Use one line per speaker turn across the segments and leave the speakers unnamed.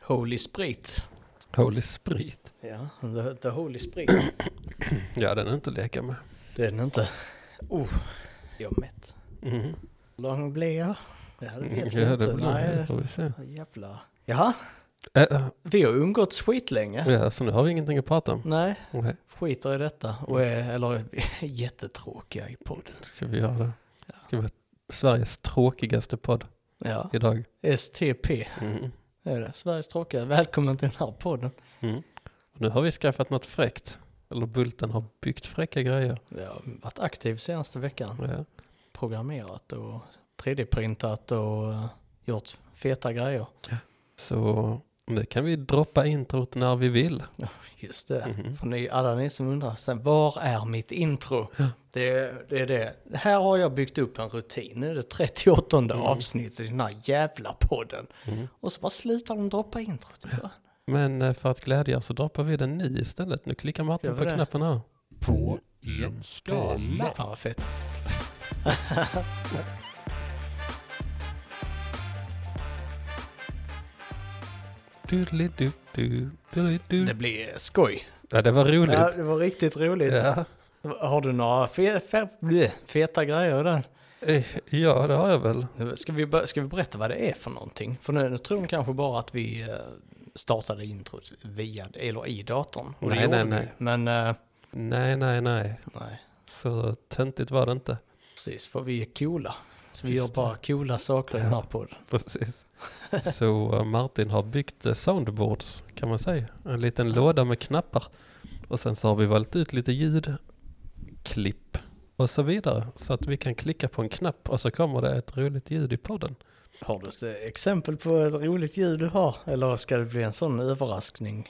Holy Sprit.
Holy Sprit.
Ja, det heter Holy Sprit.
Ja, den är inte att leka med.
Det är den inte. Oh, jag är mätt.
Mm.
Hur lång blir jag? Ja, det vet vi
Ja,
inte.
det blir det.
Nej,
Får vi se.
jävlar. Jaha,
Äh, äh,
vi har umgåtts skitlänge.
ja, så nu har vi ingenting att prata om.
Nej,
Okej,
skiter i detta. Och är, eller är jättetråkiga i podden.
ska vi göra det? Ska vi vara Sveriges tråkigaste podd
Ja,
idag?
STP är det. Sveriges tråkiga. Välkommen till den här podden.
Och Mm. Nu har vi skaffat något fräckt. Eller Bulten har byggt fräcka grejer.
Jag har varit aktiv senaste veckan.
Ja.
Programmerat och 3D-printat och eh, gjort feta grejer.
Så nu kan vi droppa introt när vi vill.
Just det.
Mhm.
Mm. För ni, alla ni som undrar, sen, var är mitt intro? Det, det är det. Här har jag byggt upp en rutin. Nu är det 38 avsnitt i den här jävla podden.
Mm.
Och så bara slutar de droppa introt.
Men eh, för att glädja er så droppar vi den nu istället. Nu klickar
Gör
Martin
vi
på
det?
knappen här.
På en skala.
Fan vad fett.
Doodly-doo, doo, doodly-doo.
Det blir skoj.
Ja, det var roligt.
Ja, det var riktigt roligt.
Ja.
Har du några fe, fe, bleh, feta grejer där?
Eh, Ja, det har jag väl.
Ska vi, bör- ska vi berätta vad det är för någonting? För nu, nu tror de kanske bara att vi eh, startade introt via, eller i datorn. Och det
Nej,
gjorde
nej,
vi.
nej.
Men eh,
Nej, nej, nej.
nej,
Så töntigt var det inte.
precis, för vi är coola. Så vi
Just
gör bara coola saker i den här podden.
Precis. Så eh, Martin har byggt eh, soundboards kan man säga. En liten låda med knappar. Och sen så har vi valt ut lite ljud, klipp och så vidare. Så att vi kan klicka på en knapp och så kommer det ett roligt ljud i podden.
Har du ett eh, exempel på ett roligt ljud du har? Eller ska det bli en sån överraskning?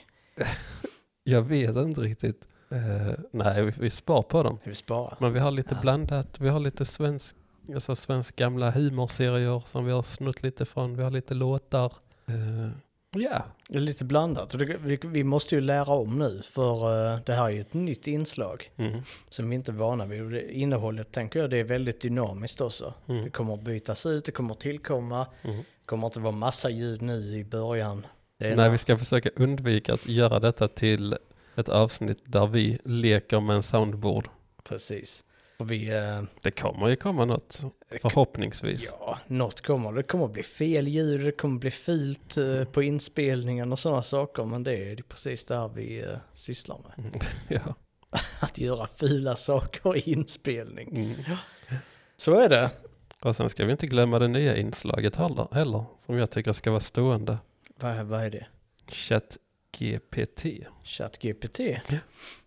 Jag vet inte riktigt. Eh, nej, vi, vi spar på dem.
Vi sparar.
Men vi har lite blandat. Vi har lite svensk, alltså svensk gamla humorserier som vi har snott lite från. Vi har lite låtar. Eh, ja,
Det är lite blandat. Och det, vi, vi måste ju lära om nu, för eh, det här är ju ett nytt inslag.
mm.
som vi inte är vana vid. Och det- Innehållet tänker jag det är väldigt dynamiskt också.
Mm.
Det kommer att bytas ut, det kommer att tillkomma.
Mm.
Det kommer inte vara massa ljud nu i början. Det är
Nej, vi ska försöka undvika att göra detta till ett avsnitt där vi leker med en soundboard.
Precis. Och vi, eh,
Det kommer ju komma något, förhoppningsvis.
ja, något kommer. Det kommer att bli fel ljud, det kommer att bli fult eh, på inspelningen och sådana saker. Men det är precis det här vi eh, sysslar med.
Ja.
Att göra fula saker i inspelning.
Mm.
Så är det.
Och sen ska vi inte glömma det nya inslaget heller, heller som jag tycker ska vara stående.
Vad, vad är det?
Chat GPT.
ChatGPT?
Ja.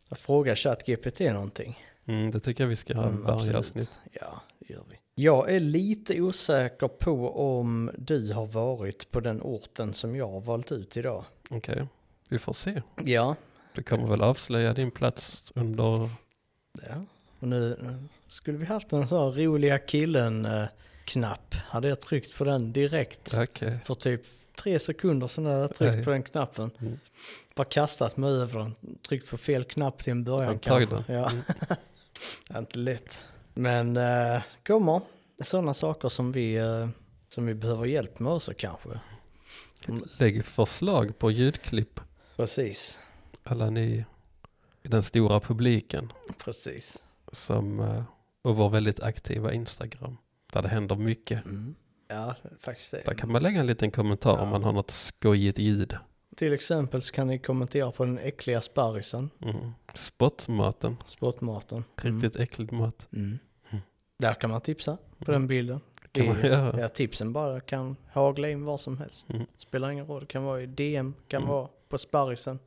Jag frågar ChatGPT någonting.
Mm, det tycker jag vi ska ha
Mm,
varje
absolut.
avsnitt.
Ja, det gör vi. Jag är lite osäker på om du har varit på den orten som jag har valt ut idag.
Okej, vi får se.
Ja.
Du kommer väl avslöja din plats under...
Och nu nu skulle vi haft en sån här roliga killen-knapp. Hade jag tryckt på den direkt
Okej.
för typ tre sekunder sedan hade jag tryckt
Nej.
på den knappen.
Mm.
Bara kastat mig över den, tryckt på fel knapp till en början
Antagligen. Mm.
kanske. Ja. det är inte lätt. Men eh, kommer sådana saker som vi, eh, som vi behöver hjälp med också kanske. Mm.
Lägg förslag på ljudklipp,
Precis,
alla ni i den stora publiken.
precis.
som, eh, och vår väldigt aktiva Instagram. Där det händer mycket.
Ja, faktiskt det.
Där kan man lägga en liten kommentar om man har något skojigt ljud.
Till exempel så kan ni kommentera på den äckliga sparrisen,
Mm. Spottmaten,
sportmaten.
riktigt äcklig mat.
Mm. Där kan man tipsa på den bilden.
Mm. Kan man
Det-
göra.
Ja, tipsen bara kan hagla in var som helst.
Mm.
Spelar ingen roll, det kan vara i DM, kan vara på sparrisen.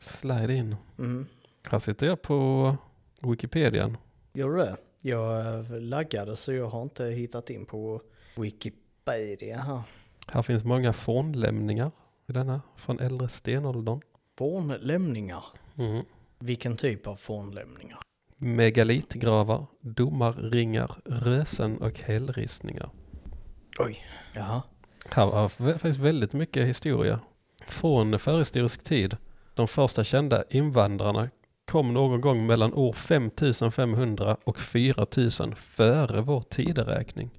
Slide in.
Mm.
Här sitter jag på Wikipedian.
Gör du det? Jag eh, laggade så jag har inte hittat in på Wikipedia här.
Här finns många fornlämningar i denna från äldre stenåldern.
Fornlämningar.
Mm.
Vilken typ av fornlämningar?
Megalitgravar, domarringar, rösen och hällristningar.
Oj. Jaha.
Här var vä- faktiskt väldigt mycket historia. Från förhistorisk tid. De första kända invandrarna kom någon gång mellan år 5500 och 4000 före vår tideräkning.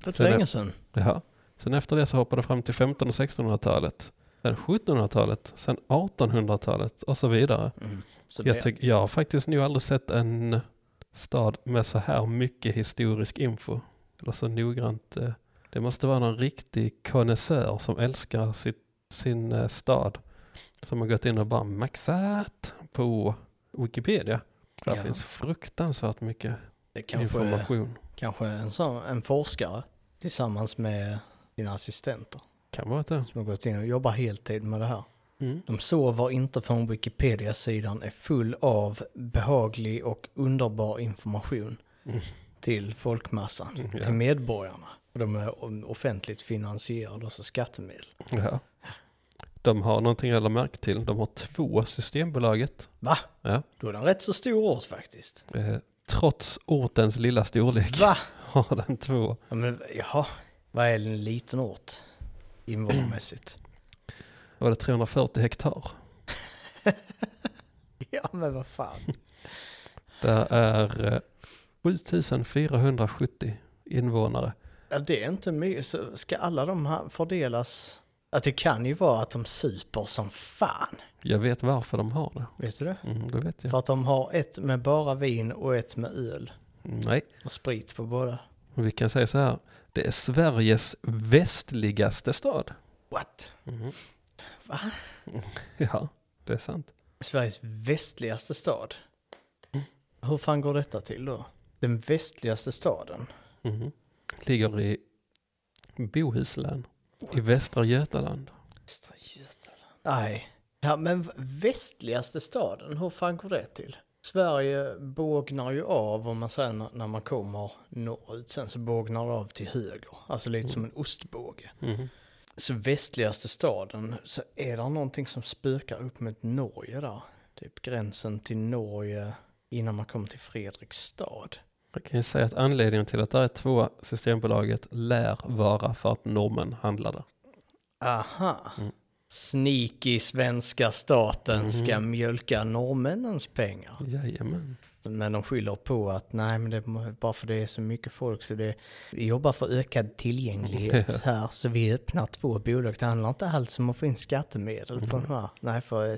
För
Så är det-
länge sedan.
Ja. Sen efter det så hoppade det fram till 1500 och 1600-talet. sen 1700-talet, sen 1800-talet och så vidare.
Mm. Så
Jag,
det-
tyck, jag har faktiskt nog aldrig sett en stad med så här mycket historisk info. Eller så noggrant. eh, Det måste vara någon riktig konnässör som älskar sitt, sin eh, stad. Som har gått in och bara maxat på Wikipedia. Där
Ja.
finns fruktansvärt mycket
det kanske,
information.
kanske en, sån, en forskare tillsammans med dina assistenter
Kan vara det.
som har gått in och jobbar heltid med det här.
Mm.
De sover inte från Wikipedia-sidan är full av behaglig och underbar information
Mm.
till folkmassan,
Mm, ja.
till medborgarna. Och De är o- offentligt finansierade, alltså skattemedel.
Ja. De har någonting jag har märkt till. De har två Systembolaget.
Va?
Ja.
Då är den rätt så stor ort faktiskt.
Eh, trots ortens lilla storlek
Va?
har den två.
Ja, men, jaha, vad är en liten ort invånarmässigt?
Var det 340 hektar?
ja, men vad fan.
Det är eh, 7470 invånare.
Ja, det är inte mycket. Så ska alla de här fördelas? Att det kan ju vara att de super som fan.
Jag vet varför de har det.
Vet du det?
Mm, det vet jag.
För att de har ett med bara vin och ett med öl.
Nej,
Och sprit på båda.
vi kan säga så här. Det är Sveriges västligaste stad.
What?
Mm.
Va?
Ja, det är sant.
Sveriges västligaste stad. Hur fan går detta till då? Den västligaste staden?
Mhm. Ligger i Bohuslän i Västra Götaland.
Västra Götaland. Nej. Ja, men v- västligaste staden, hur fan går det till? Sverige bågnar ju av om man säger när- när man kommer norrut. Sen så bågnar det av till höger. Alltså lite som en ostbåge.
Mhm.
Så västligaste staden, så är det någonting som spökar upp med Norge där. Typ gränsen till Norge innan man kommer till Fredrikstad.
Jag kan ju säga att anledningen till att det är två Systembolaget lär vara för att norrmän handlar där.
Aha.
Mm.
Sneaky svenska staten ska mjölka norrmännens pengar.
Jajamän.
Men de skyller på att nej, men det är bara för det är så mycket folk så det vi jobbar för ökad tillgänglighet här så vi öppnar två bolag. Det handlar inte alls om att få in skattemedel på
Mm.
de här. Nej, för eh,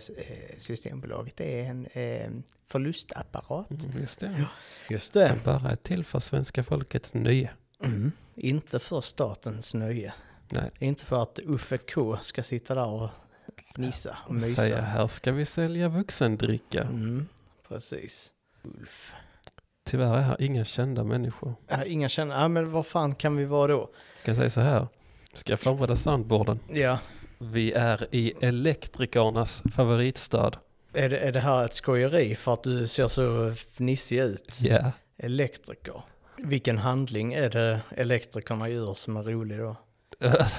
Systembolaget är en eh, förlustapparat.
Mm, Visst det.
Just
Den
det.
bara är till för svenska folkets nöje.
Mm. Inte för statens nöje.
Nej.
Inte för att Uffe K ska sitta där och fnissa och mysa.
Säga här ska vi sälja vuxendricka.
Mm, precis. Ulf.
Tyvärr är här inga kända människor.
Äh, inga känner, ja men vad fan kan vi vara då?
Jag kan säga så här. Ska jag förbereda soundboarden?
Ja,
Vi är i elektrikernas
Mm.
favoritstad.
är det, är det här ett skojeri för att du ser så fnissig ut?
Ja.
Elektriker. Vilken handling är det elektrikerna gör som är rolig då?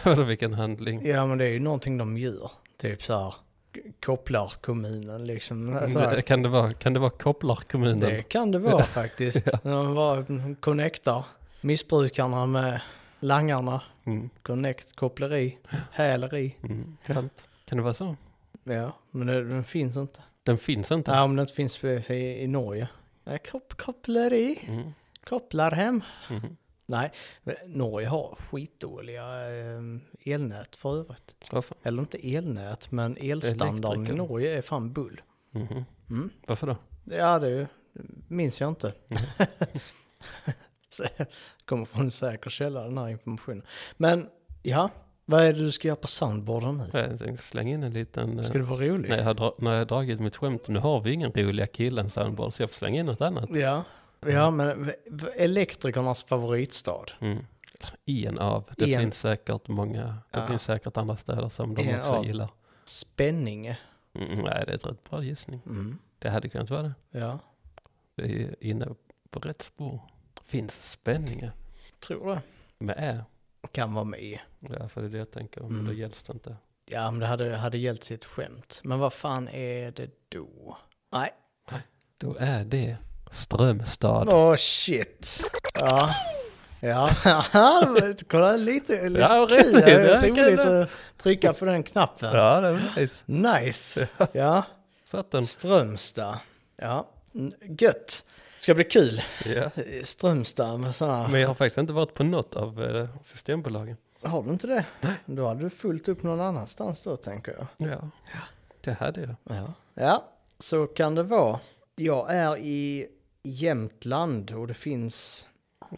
Hörde vilken handling.
Ja men det är ju någonting de gör. Typ så här k- kopplar kommunen liksom. Så här.
Mm, Det- Kan det vara, kan det vara
Det
kopplarkommunen?
kan det vara faktiskt. De bara connectar missbrukarna med langarna.
Mm.
Connect, koppleri, häleri.
Mm. Sant. Kan det vara så?
Ja, men det- den finns inte.
Den finns inte.
Ja, om det inte finns i, i, i Norge. Nej, Kop, koppleri,
Mm.
kopplar hem.
Mm.
Nej, men Norge har skitdåliga eh, elnät för övrigt.
Vad fan?
Eller inte elnät, men elstandarden i
Elektriker.
Norge är fan bull.
Mhm.
Mm.
Varför då?
Ja, det är ju- minns jag inte.
Mm.
Så, Kommer från en säker källa den här informationen. Men ja, vad är det du ska göra på soundboarden nu?
Jag tänkte slänga in en liten... eh,
Ska du vara rolig?
När jag, har dra- när jag har dragit mitt skämt, nu har vi ingen roliga killen soundboard så jag får slänga in något annat.
Ja, ja men v- v- elektrikernas favoritstad.
Mm. En av. Det
En.
finns säkert många, det
Ja.
finns säkert andra städer som de
En
också
av.
gillar.
Spänninge. Mm.
Mm, nej, det är ett rätt bra gissning. Det hade kunnat vara det.
Ja,
Det är inne på rätt spår. Finns spänningar
tror det.
med ä.
Kan vara med.
Ja, för det är det jag tänker om.
Mm.
Då gälls det inte.
Ja, men det hade, hade gällt sitt skämt. Men vad fan är det då? Nej.
Då är det Strömstad.
Åh shit. Ja. Ja, men kolla lite, lite
Ja,
kul.
roligt,
Det är
ja,
roligt
kul.
att trycka på den knappen.
Ja, det var nice.
Nice. Ja,
Satt den.
Strömstad. Ja, Mm, gött. Ska bli kul.
Ja.
Strömstad med sådana
Men jag har faktiskt inte varit på något av eh, systembolagen.
Har du inte det? Då hade du fullt upp någon annanstans då tänker jag.
Ja, det hade jag.
Ja. ja, så kan det vara. Jag är i Jämtland och det finns...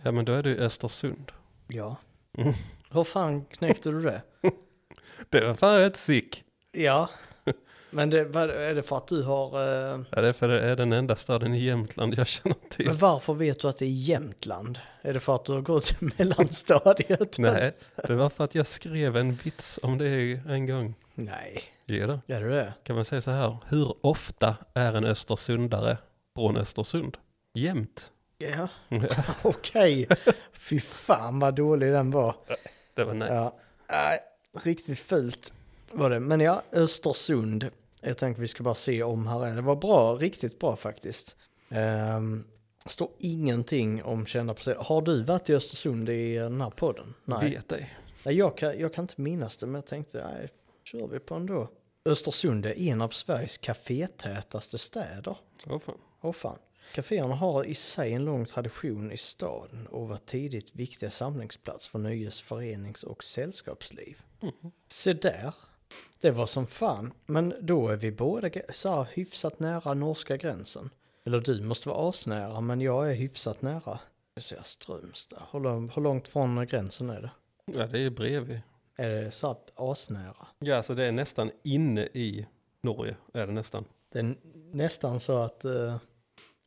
Ja, men då är det ju Östersund.
Ja. Hur fan knäckte du det?
Det var fan rätt sick.
Ja. Men det, vad- är det för att du har... eh,
Ja, det är för det är den enda staden i Jämtland jag känner
Men
till.
varför vet du att det är Jämtland? Är det för att du har gått i mellanstadiet?
Nej, det var för att jag skrev en vits om det en gång.
Nej.
Ja, då.
Är det det?
Kan man säga så här, hur ofta är en östersundare från Östersund? Jämt.
Ja.
Ja,
Okej. Fy fan vad dålig den var.
det var nice.
Ja. Nej, riktigt fult var det. Men ja, Östersund. Jag tänker vi ska bara se om här är. Det var bra, riktigt bra faktiskt. Ehm, står ingenting om kända personer. Har du varit i Östersund i den här podden? Nej.
Vet ej.
nej jag, kan, jag kan inte minnas det, men jag tänkte, nej, kör vi på ändå. Östersund är en av Sveriges kafétätaste städer.
Åh, fan.
Åh fan. Caféerna har i sig en lång tradition i staden och var tidigt viktiga samlingsplats för nöjes-, förenings och sällskapsliv. Se där. Det var som fan. Men då är vi båda ge- så här, hyfsat nära norska gränsen. Eller du måste vara asnära, men jag är hyfsat nära. Jag ser Strömstad. Hur, lång- hur långt från gränsen är det?
Ja, det är ju bredvid.
Är det så här asnära?
Ja, så det är nästan inne i Norge, är det nästan.
Det är n- nästan så att eh,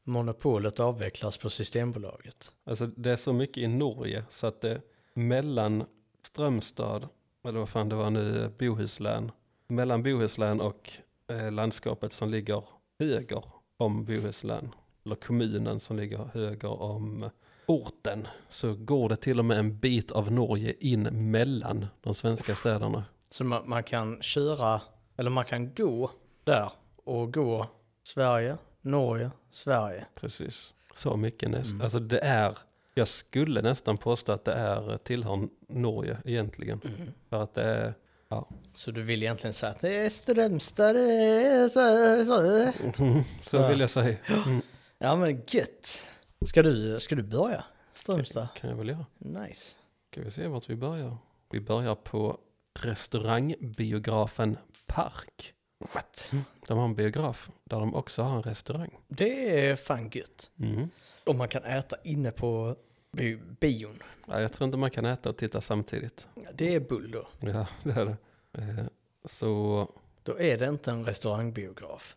monopolet avvecklas på Systembolaget.
Alltså det är så mycket i Norge så att det mellan Strömstad, eller vad fan det var nu, eh, Bohuslän, mellan Bohuslän och eh, landskapet som ligger höger om Bohuslän, eller kommunen som ligger höger om orten, så går det till och med en bit av Norge in mellan de svenska städerna.
Så man, man kan köra, eller man kan gå där och gå Sverige, Norge, Sverige.
Precis. Så mycket nästan. Alltså det är, jag skulle nästan påstå att det är tillhör Norge egentligen. För att det är, ja,
Så du vill egentligen säga att det är Strömstad, det är så, så.
så vill jag säga. Mm.
Ja men gött. Ska du, ska du börja? Strömstad?
kan jag väl göra.
Nice.
Ska vi se vart vi börjar? Vi börjar på restaurangbiografen Park.
What?
De har en biograf där de också har en restaurang.
Det är fan gött.
Mm.
Om man kan äta inne på bi- bion.
Ja, jag tror inte man kan äta och titta samtidigt.
Det är bull då.
Ja, det är det. Eh, Så,
Då är det inte en restauangbiograf.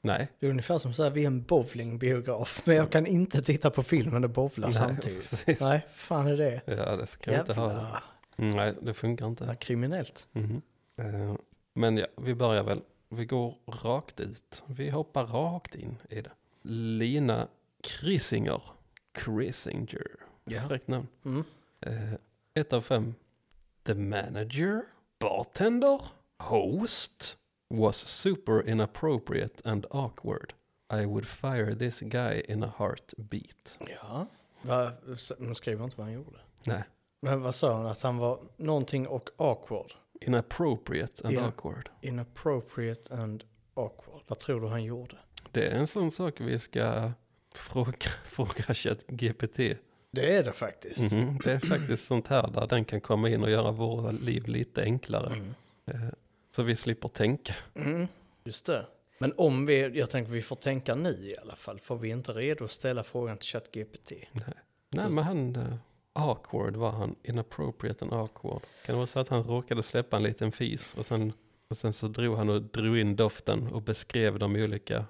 nej.
Det är ungefär som så här, vi är en bowlingbiograf. Men jag kan inte titta på filmen och bowla
Nej,
samtidigt.
precis.
Nej, fan är det?
Ja, det ska jag inte ha.
Jävla-
Mm, Nej, det funkar inte.
Jävla kriminellt.
Mhm. Eh, Men ja, vi börjar väl. Vi går rakt ut. Vi hoppar rakt in i det. Lina Krisinger. Krisinger.
Ja.
Fräckt namn.
Mm.
Eh, ett av fem. The manager, bartender, host was super inappropriate and awkward. I would fire this guy in a heartbeat.
Ja. Va, s- hon skriver inte vad han gjorde.
Nej,
Men vad sa hon? Att han var någonting och awkward.
inappropriate and
Ja.
awkward.
Inappropriate and awkward. Vad tror du han gjorde?
Det är en sån sak vi ska fråga, fråga ChatGPT.
Det är det faktiskt.
Mhm, Det är faktiskt sånt här där den kan komma in och göra våra liv lite enklare. Eh, Så vi slipper tänka.
Mm. Just det. Men om vi, jag tänker vi får tänka nu i alla fall. Får vi inte redo att ställa frågan till ChatGPT?
Nej, men han... eh, Awkward var han. Inappropriate and awkward. Kan det vara så att han råkade släppa en liten fis och sen, och sen så drog han och drog in doften och beskrev de olika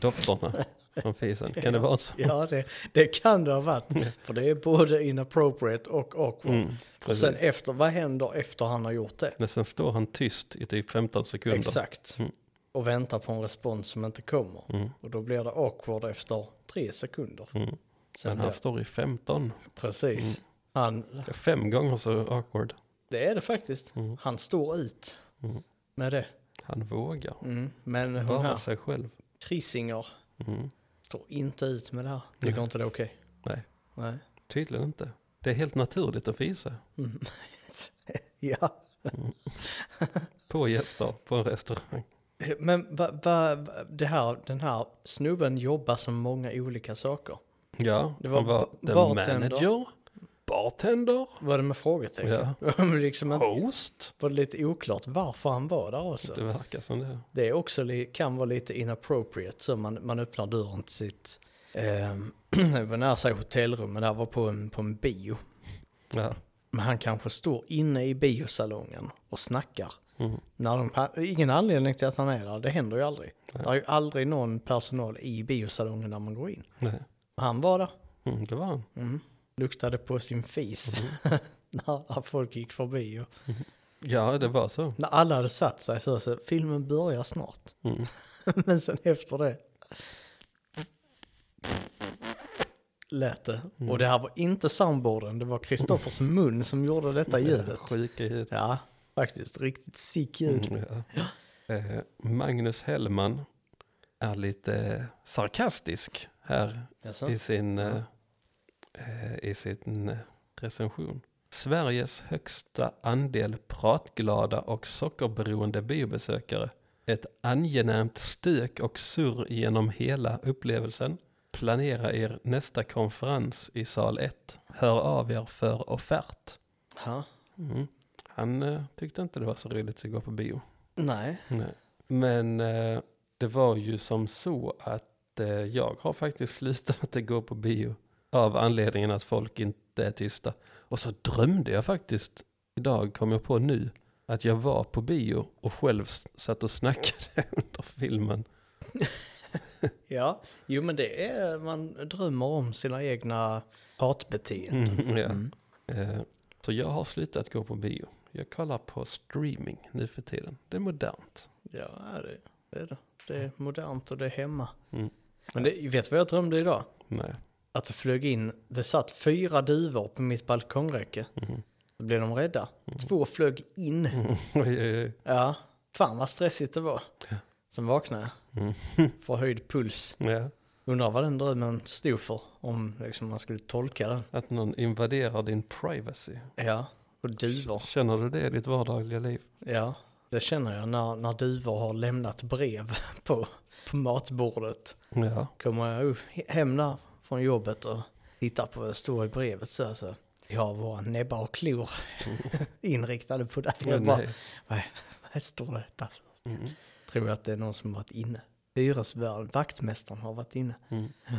dofterna från fisen. Kan det vara så?
Ja, det, det kan det ha varit. För det är både inappropriate och awkward.
Mm,
och sen
precis.
efter, vad händer efter han har gjort det?
Men sen står han tyst i typ 15 sekunder.
Exakt.
Mm.
Och väntar på en respons som inte kommer.
Mm.
Och då blir det awkward efter tre sekunder.
Mm.
Sen
Men
blir,
han står i 15.
precis.
Mm.
Han,
Fem gånger så awkward.
det är det faktiskt.
Mm.
Han står ut
Mm.
med det.
Han vågar
Mm. Men hon
vara
här,
sig själv.
Krisinger,
Mm.
står inte ut med det här. Tycker
Nej.
inte det är okej.
Nej.
Nej.
Tydligen inte. Det är helt naturligt att fisa.
Mm. ja.
På gäster, på en restaurang.
Men va, va, va, det här, den här snubben jobbar som många olika saker.
Ja,
Det
det
var
var han var
ba-
the
bartender.
manager, bartender,
Var det med frågetecken? Om liksom inte-
host.
var det lite oklart varför han var där
Det
också.
verkar som det.
Det är också li- kan vara lite inappropriate så man, man öppnar dörren till sitt, eh, det var nära sig hotellrum, men det här var på en, på en bio.
Ja.
Men han kanske står inne i biosalongen och snackar.
Mm.
När de, ha- ingen anledning till att han är där, det händer ju aldrig. Det är ju aldrig någon personal i biosalongen när man går in.
Nej.
Han var där,
Mm, det var han.
luktade på sin fis när när folk gick förbi. Och
Ja, det var så.
när alla hade satt sig så, så filmen börjar snart.
Mm.
Men sen efter det lät det.
Mm.
Och det här var inte soundboarden, det var Kristoffers mun som gjorde detta ljudet.
Sjuka ljud.
Ja, faktiskt. Riktigt sick ljud.
Mm, ja. Eh, Magnus Hellman är lite sarkastisk här
Jaså?
i sin, eh, eh, i sin recension. Sveriges högsta andel pratglada och sockerberoende biobesökare. Ett angenämt stök och surr genom hela upplevelsen. Planera er nästa konferens i sal 1. Hör av er för offert.
Ja.
Mm. Han eh, tyckte inte det var så roligt att gå på bio.
Nej.
Nej. Men eh, det var ju som så att eh, jag har faktiskt slutat att gå på bio av anledningen att folk inte är tysta. Och så drömde jag faktiskt, idag kom jag på nu, att jag var på bio och själv s- satt och snackade under filmen.
Ja, jo men det är, man drömmer om sina egna hatbeteenden.
Mm, ja. eh, så jag har slutat gå på bio. Jag kollar på streaming nu för tiden. Det är modernt.
Ja, det, det är det. Det är modernt och det är hemma.
Mm.
Men det, vet du vad jag drömde idag?
Nej.
Att det flög in, det satt fyra duvor på mitt balkongräcke.
Mm.
Då blev de rädda. Två flög in.
Oj, oj,
Ja, fan vad stressigt det var.
Ja.
Sen vaknade jag.
Mm.
Förhöjd puls.
oj. Ja.
Undrar vad den drömmen stod för. Om liksom, man skulle tolka den.
Att någon invaderar din privacy.
Ja, och duvor.
Känner du det i ditt vardagliga liv?
Ja, det känner jag när, när duvor har lämnat brev på, på matbordet.
Ja.
Kommer jag upp, hem där från jobbet och tittar på vad det står i brevet så alltså. Jag har våra näbbar och klor inriktade på det. Jag bara,
nej.
vad, vad står detta för?
Mm,
Tror jag att det är någon som varit inne. Hyresvärden, vaktmästaren har varit inne.
Mm.
Ja.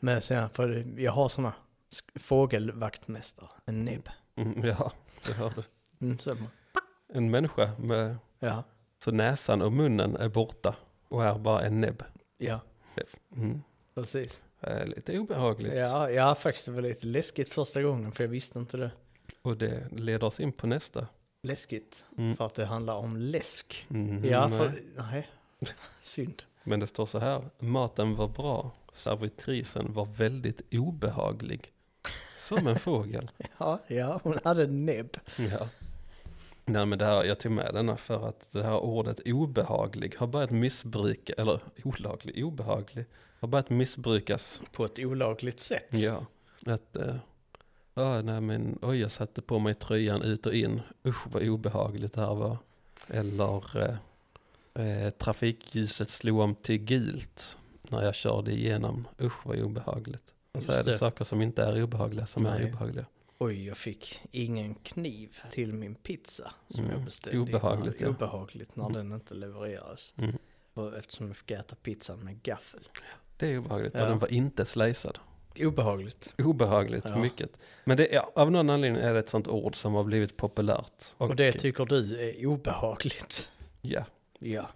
Men sen, för jag har sådana fågelvaktmästare, en näbb.
Mm, ja, det hör du.
Mm, så,
En människa med
ja,
så näsan och munnen är borta och är bara en näbb.
ja,
Mm.
precis.
Det är Lite obehagligt.
Ja, ja, faktiskt det var lite läskigt första gången för jag visste inte det.
Och det leder oss in på nästa.
Läskigt?
Mm.
För att det handlar om läsk.
Mm,
ja,
nej.
för... Nej. Synd.
Men det står så här. Maten var bra. Servitrisen var väldigt obehaglig. Som en fågel.
Ja, ja, hon hade näbb.
Ja. Nej men det här, jag tog med denna för att det här ordet obehaglig har börjat missbruka, eller olaglig, obehaglig, har börjat missbrukas.
På ett olagligt sätt.
Ja. Att, eh, ah, nej men oj jag satte på mig tröjan ut och in, usch vad obehagligt det här var. Eller eh, eh, trafikljuset slog om till gult när jag körde igenom, usch vad obehagligt. Och så
Just
är det,
det.
saker som inte är obehagliga som är
Nej.
obehagliga.
Oj, jag fick ingen kniv till min pizza som
Mm.
jag beställde.
Obehagligt,
innan.
ja.
Obehagligt Mm. när den inte levereras.
Mm.
Och Eftersom jag fick äta pizzan med gaffel.
Det är obehagligt
Ja.
och den var inte slicead.
Obehagligt.
Obehagligt,
Ja.
mycket. Men det, ja, av någon anledning är det ett sånt ord som har blivit populärt.
Och det tycker du är obehagligt.
ja,
Ja.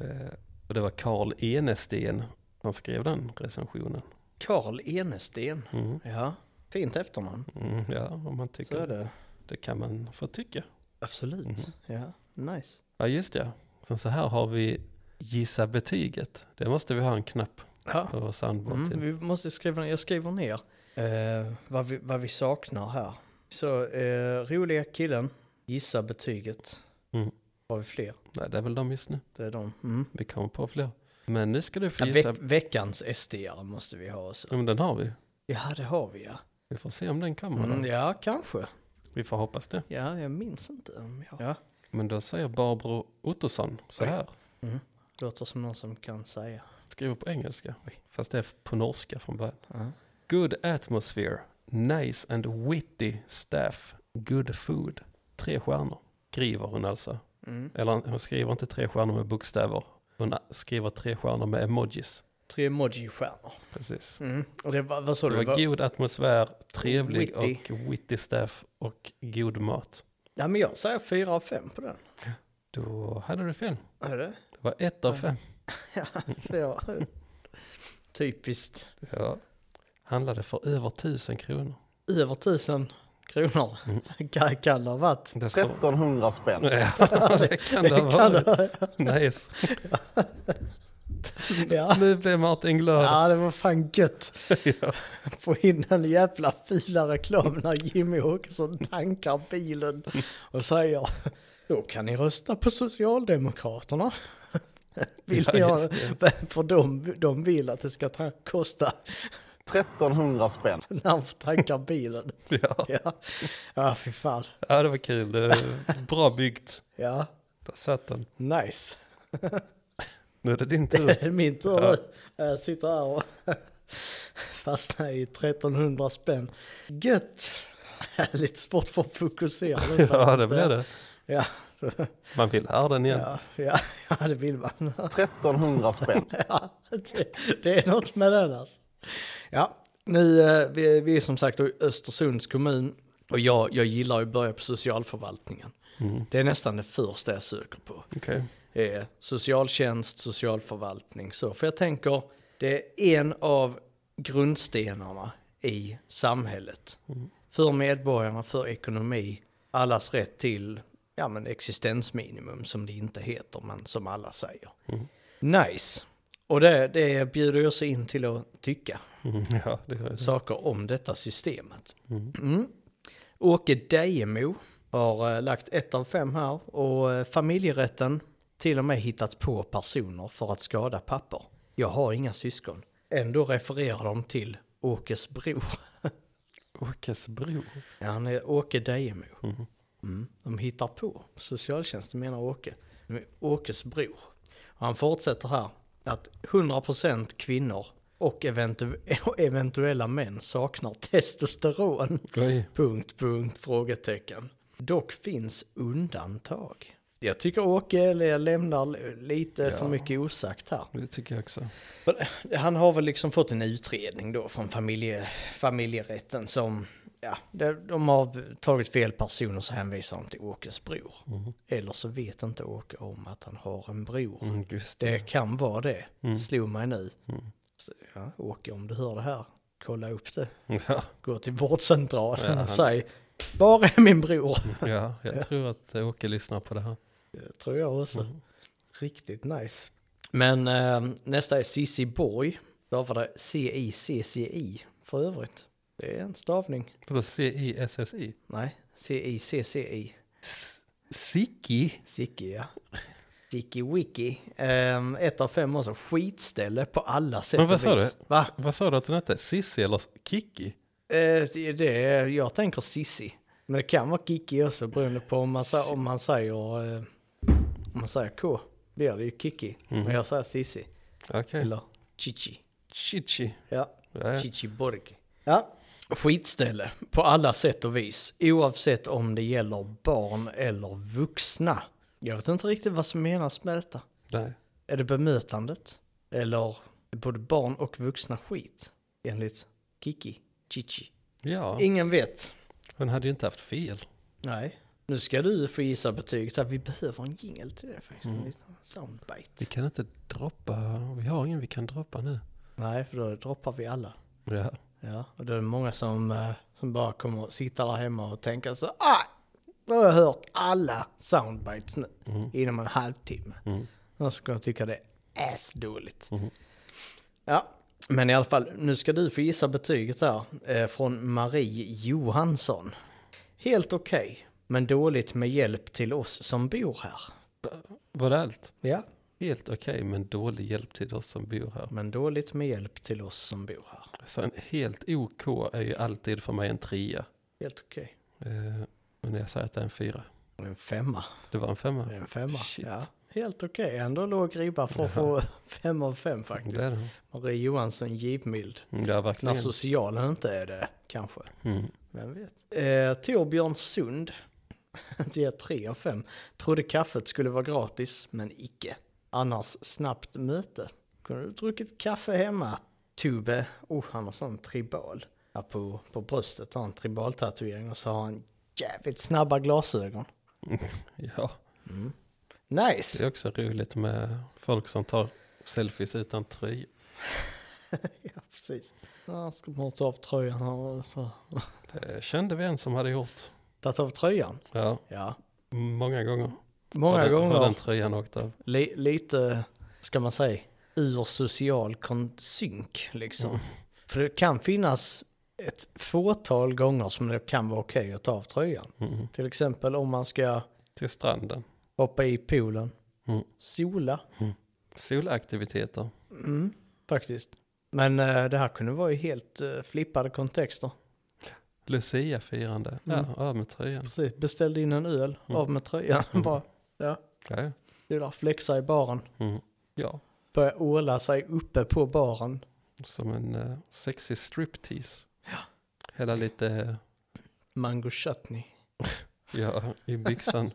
eh, och det var Karl Enesten som skrev den recensionen.
Karl Enesten.
Mm,
Ja. Fint efternamn.
mm, ja, om man tycker
Så är
det.
det.
kan man få tycka.
Absolut. Ja, nice.
Ja, just det. Sen så här har vi gissa betyget. Det måste vi ha en knapp
Ja.
på vår soundboard
Mm,
till.
vi måste skriva ner, jag skriver ner eh, vad, vi, vad vi saknar här. Så eh, roliga killen, gissa betyget.
Mm.
Har vi fler?
Nej, det är väl de just nu.
Det är de. Mm.
Vi kommer på fler. Men nu ska du få
Ja,
gissa.
veck, veckans sd måste vi ha också.
Ja, men den har vi.
Ja, det har vi ja.
Vi får se om den kommer.
Mm,
då.
ja, kanske.
Vi får hoppas det.
Ja, jag minns inte. om Jag... Ja,
Men då säger Barbro Ottosson så
Oj.
här.
Mm. låter som någon som kan säga.
Skriver på engelska, fast det är på norska från början.
Ja.
Good atmosphere, Nice and witty staff. Good food. Tre stjärnor. Skriver hon alltså.
Mm.
Eller hon skriver inte tre stjärnor med bokstäver. Hon skriver tre stjärnor med emojis.
Tre emoji-stjärnor.
Precis.
Mm. Och det var, vad sa
Det
du?
var
Vad-
god atmosfär, trevlig
Witty.
och witty staff och god mat.
Ja, men jag säger fyra av fem på den.
Då hade du fel.
Är det?
Det var ett av
Ja.
fem.
Så jag, typiskt.
Ja. Handlade för över tusen kronor.
Över tusen kronor kan, kan det ha varit.
Det står-
1300 spänn.
Ja, det kan det ha
Kan
varit.
det,
Nice.
ja.
Nu blev Martin glad.
ja, det var fan gött.
Ja.
Få in en jävla fula reklam när Jimmy Åkesson tankar bilen och säger då kan ni rösta på Socialdemokraterna. Vill
Ja,
ni ha-
just
för de, de vill att det ska ta, kosta
1300 spänn.
när man tankar bilen.
Ja.
Ja, ja fy fan.
ja, det var kul. Det var Bra byggt.
Ja,
Där satt den.
nice.
Nu är det din tur.
Det är min tur
Ja.
nu. Jag sitter här och fastnar i 1300 spänn. Gött! Lite svårt för att fokusera nu
Ja, det
faktiskt.
blev det.
Ja,
Man vill höra den igen.
ja, ja, ja, det vill man.
1300 spänn.
Ja, det, det är något med den alltså. Ja, nu, eh, vi, vi är som sagt i Östersunds kommun och jag, jag gillar ju att börja på socialförvaltningen.
Mm.
Det är nästan det första jag söker på.
Okej.
eh, socialtjänst, socialförvaltning. Så, för jag tänker, det är en av grundstenarna i samhället. För medborgarna, för ekonomi, allas rätt till ja, men existensminimum som det inte heter, men som alla säger. Nice. Och det, det bjuder jag sig in till att tycka
Mm, Ja, det gör jag.
saker om detta systemet. Mm. Åke Dejemo har eh, lagt ett av fem här och eh, familjerätten till och med hittat på personer för att skada papper. Jag har inga syskon. Ändå refererar de till Åkes bror.
Åkes bror.
Ja, Han är Åke Dejemo. Mm. De hittar på. Socialtjänsten menar Åke. De är Åkes bror. Och han fortsätter här. Att 100% kvinnor och eventu- och eventuella män saknar testosteron.
Oj.
Punkt, punkt, frågetecken. Dock finns undantag. Jag tycker Åke eller lämnar lite
Ja.
för mycket osagt här.
Det tycker jag också.
Han har väl liksom fått en utredning då från familje, familjerätten som, ja, de, de har tagit fel person och så hänvisar de till Åkes bror. Eller så vet inte Åke om att han har en bror.
Mhm. Mm, just
Det
det.
kan vara det, slog mig nu.
Mm.
Så, ja, Åke, om du hör det här, kolla upp det.
Ja,
Gå till vårdcentralen
Ja, han-
och säg, var är min bror?
ja, jag tror att eh, Åke lyssnar på det här.
Det Eh, tror jag också. Riktigt nice. Mm. Men eh, nästa är Cissi Borg. Stavade C-I-C-C-I för övrigt. Det är en stavning.
Vadå C-I-S-S-I?
Nej, C-I-C-C-I.
Siki?
Sicki, ja. Sicki Wiki. Eh, ett av fem också. Skitställe på alla sätt
Men vad sa
och vis. Va?
Vad sa du att hon hette? Sissi eller Kiki?
Eh, det är, jag tänker Sissi. Men det kan vara Kiki också beroende på om man, sa- om man säger eh, om man säger K. Blir det ju Kiki.
Mm.
Men jag säger Sissi.
Okej.
Eller Chichi.
Chichi.
Ja.
Ja, ja.
Chichiborg. Ja. Skitställe på alla sätt och vis. Oavsett om det gäller barn eller vuxna. Jag vet inte riktigt vad som menas med detta.
Nej.
Är det bemötandet? Eller är både barn och vuxna skit? Enligt Kiki. Chichi.
Ja,
Ingen vet.
hon hade ju inte haft fel.
Nej. Nu ska du få gissa betyget. här. Vi behöver en jingel till det faktiskt. En liten soundbite.
Vi kan inte droppa, vi har ingen vi kan droppa nu.
Nej, för då droppar vi alla.
Ja.
Ja, och då är det många som, eh, som bara kommer att sitta där hemma och tänka så ah, nu har jag hört alla soundbites nu inom en halvtimme. Någon som kommer tycka det är asdåligt. Ja, men i alla fall, nu ska du få gissa betyget här eh, från Marie Johansson. Helt okej, men dåligt med hjälp till oss som bor här.
Var det allt?
Ja,
Helt okej, men dålig hjälp till oss som bor här.
men dåligt med hjälp till oss som bor här.
Så en helt OK är ju alltid för mig en trea.
Helt okej.
Eh, Men jag säger att det är en fyra.
Det är En femma.
Det var en femma.
Det är en femma.
Shit.
Ja. Helt okej, ändå låg ribba för att få fem av fem faktiskt.
Det är det.
Marie Johansson givmild.
Ja,
När
verkligen.
socialen inte är det, kanske.
Mm.
Vem vet? Eh, Torbjörn Sund. Ger 3 av 5. Trodde kaffet skulle vara gratis, men icke. Annars snabbt möte. Kunde du druckit kaffe hemma? Tube. Oh, han har sån tribal. Här på, på bröstet har han tribaltatuering och så har han jävligt snabba glasögon.
Ja, det
Nice!
är också roligt med folk som tar selfies utan tröja.
Ja, precis. Han ska bara ta av tröjan här och så.
Det Eh, kände vi en som hade gjort.
Tagit av tröjan?
Ja,
Ja.
många gånger.
Många
har den,
gånger.
Har den tröjan åkt av.
Li- lite, ska man säga, ur social kon- synk liksom. För det kan finnas ett fåtal gånger som det kan vara okej att ta av tröjan.
Mm.
Till exempel om man ska
Till stranden.
hoppa i poolen,
Mm.
sola
Solaktiviteter.
mm, faktiskt. Men eh, det här kunde vara i helt eh, flippade kontexter.
Lucia-firande. Ja,
Mm.
av med tröjan.
Precis, beställde in en öl,
Mm.
av med tröjan bara. Ja,
Ja, ja.
det är där, flexa i baren.
mm. ja.
Börja åla sig uppe på baren.
som en uh, sexy striptease. Hela lite eh,
Mango chutney.
ja, i byxan.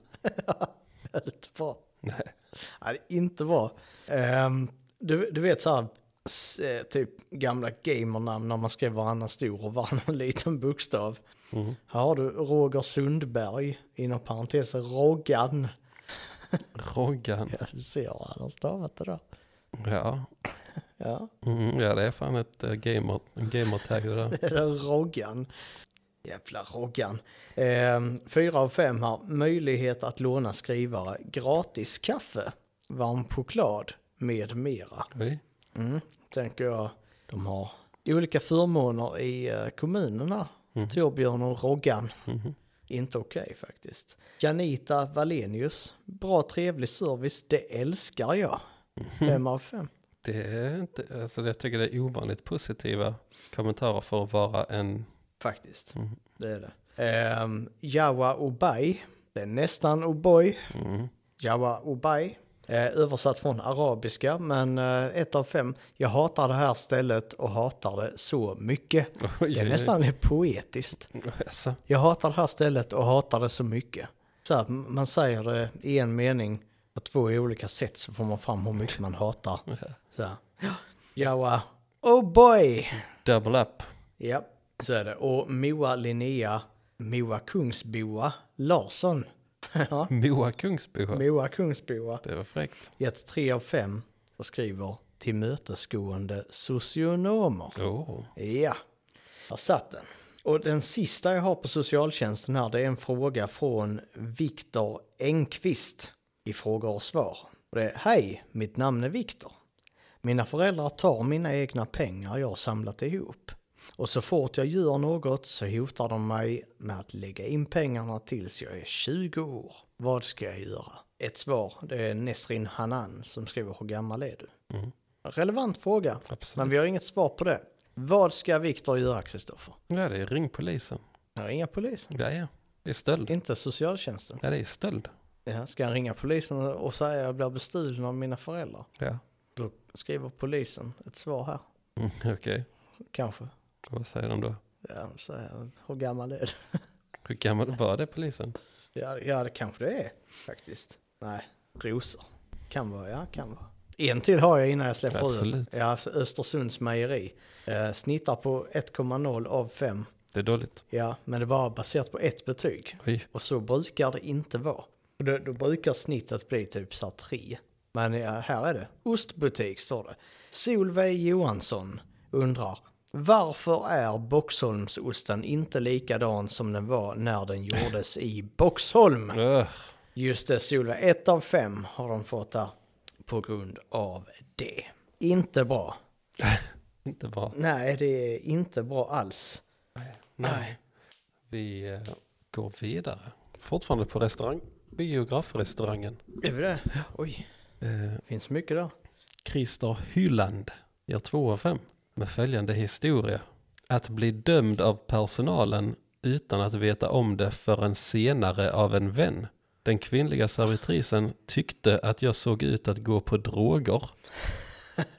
Väldigt bra.
Nej.
Ja, det är inte bra. Ehm, du, du vet så här, s- eh, typ gamla gamernamn när man skrev varannan stor och varannan liten bokstav.
Mm.
Här har du Roger Sundberg, inom parentes Roggan.
Roggan.
Ja, du ser, han har stavat det där.
Ja.
Ja,
Mm, ja, det är fan ett uh, gamer, en gamertag det där.
det där är Roggan. Jävla Roggan. Ehm, fyra av fem här, möjlighet att låna skrivare, gratis kaffe, varm choklad med mera.
Oj.
Mm, tänker jag. De har olika förmåner i eh, kommunerna. Torbjörn och Roggan.
Mhm.
Inte okej faktiskt. Janita Valenius. Bra trevlig service, det älskar jag. Fem av fem.
Det är inte, alltså jag tycker det är ovanligt positiva kommentarer för att vara en,
Faktiskt.
Mm.
Det är det. Ehm, Jawa Obay. Det är nästan Oboy.
mm,
Jawa Obay. Eh, översatt från arabiska, men eh, ett av fem. Jag hatar det här stället och hatar det så mycket.
Oj,
Det
oj,
är
oj.
nästan poetiskt.
alltså,
Jag hatar det här stället och hatar det så mycket. Så här, m- man säger det i en mening på två olika sätt så får man fram hur mycket man hatar. Så här. Jawa, oh boy!
double up.
Ja, så är det. Och Moa Linnea, Moa Kungsboa Larsson. Ja,
Moa Kungsboa.
Moa Kungsboa.
Det var fräckt.
Gett tre av fem och skriver tillmötesgående socionomer.
Oh.
Ja, där satt den. Och den sista jag har på socialtjänsten här, det är en fråga från Viktor Engqvist i frågor och svar. Och det är, hej, mitt namn är Viktor. Mina föräldrar tar mina egna pengar jag samlat ihop. Och så fort jag gör något så hotar de mig med att lägga in pengarna tills jag är 20 år. Vad ska jag göra? Ett svar, det är Nesrin Hanan som skriver hur gammal är du?
Mm.
Relevant fråga.
Absolut.
Men vi har inget svar på det. Vad ska Viktor göra, Kristoffer?
Ja, det är ring polisen.
Han ringer polisen.
Ja, ja. Det är stöld.
Inte socialtjänsten.
Ja, det är stöld.
Ja, ska han ringa polisen och säga jag blir bestulen av mina föräldrar?
Ja,
Då skriver polisen ett svar här,
mm, okej.
kanske.
Vad säger de då?
Ja, så här, hur gammal är du?
Hur gammal var det polisen?
Ja, det- ja, det kanske det är, faktiskt. Nej, rosor. Kan vara, ja, kan vara. En till har jag innan jag släpper
Absolut.
ut. Ja, alltså Östersunds mejeri. Eh, snittar på 1,0 av 5.
Det är dåligt.
Ja, men det är bara baserat på ett betyg.
Oj,
Och så brukar det inte vara. Och Då, då brukar snittet bli typ så här tre. Men ja, här är det. Ostbutik står det. Solveig Johansson undrar. Varför är Boxholmsosten inte likadan som den var när den gjordes i Boxholm?
Öh,
Just det, Solveig. Ett av fem har de fått där på grund av det. Inte bra.
inte bra.
Nej, det är inte bra alls.
Nej. Vi eh, går vidare. Fortfarande på restaurang. Biografrestaurangen.
Är vi det? Oj,
Eh,
finns mycket där.
Christer Hyland gör 2 av 5 med följande historia. Att bli dömd av personalen utan att veta om det förrän senare av en vän Den kvinnliga servitrisen tyckte att jag såg ut att gå på droger.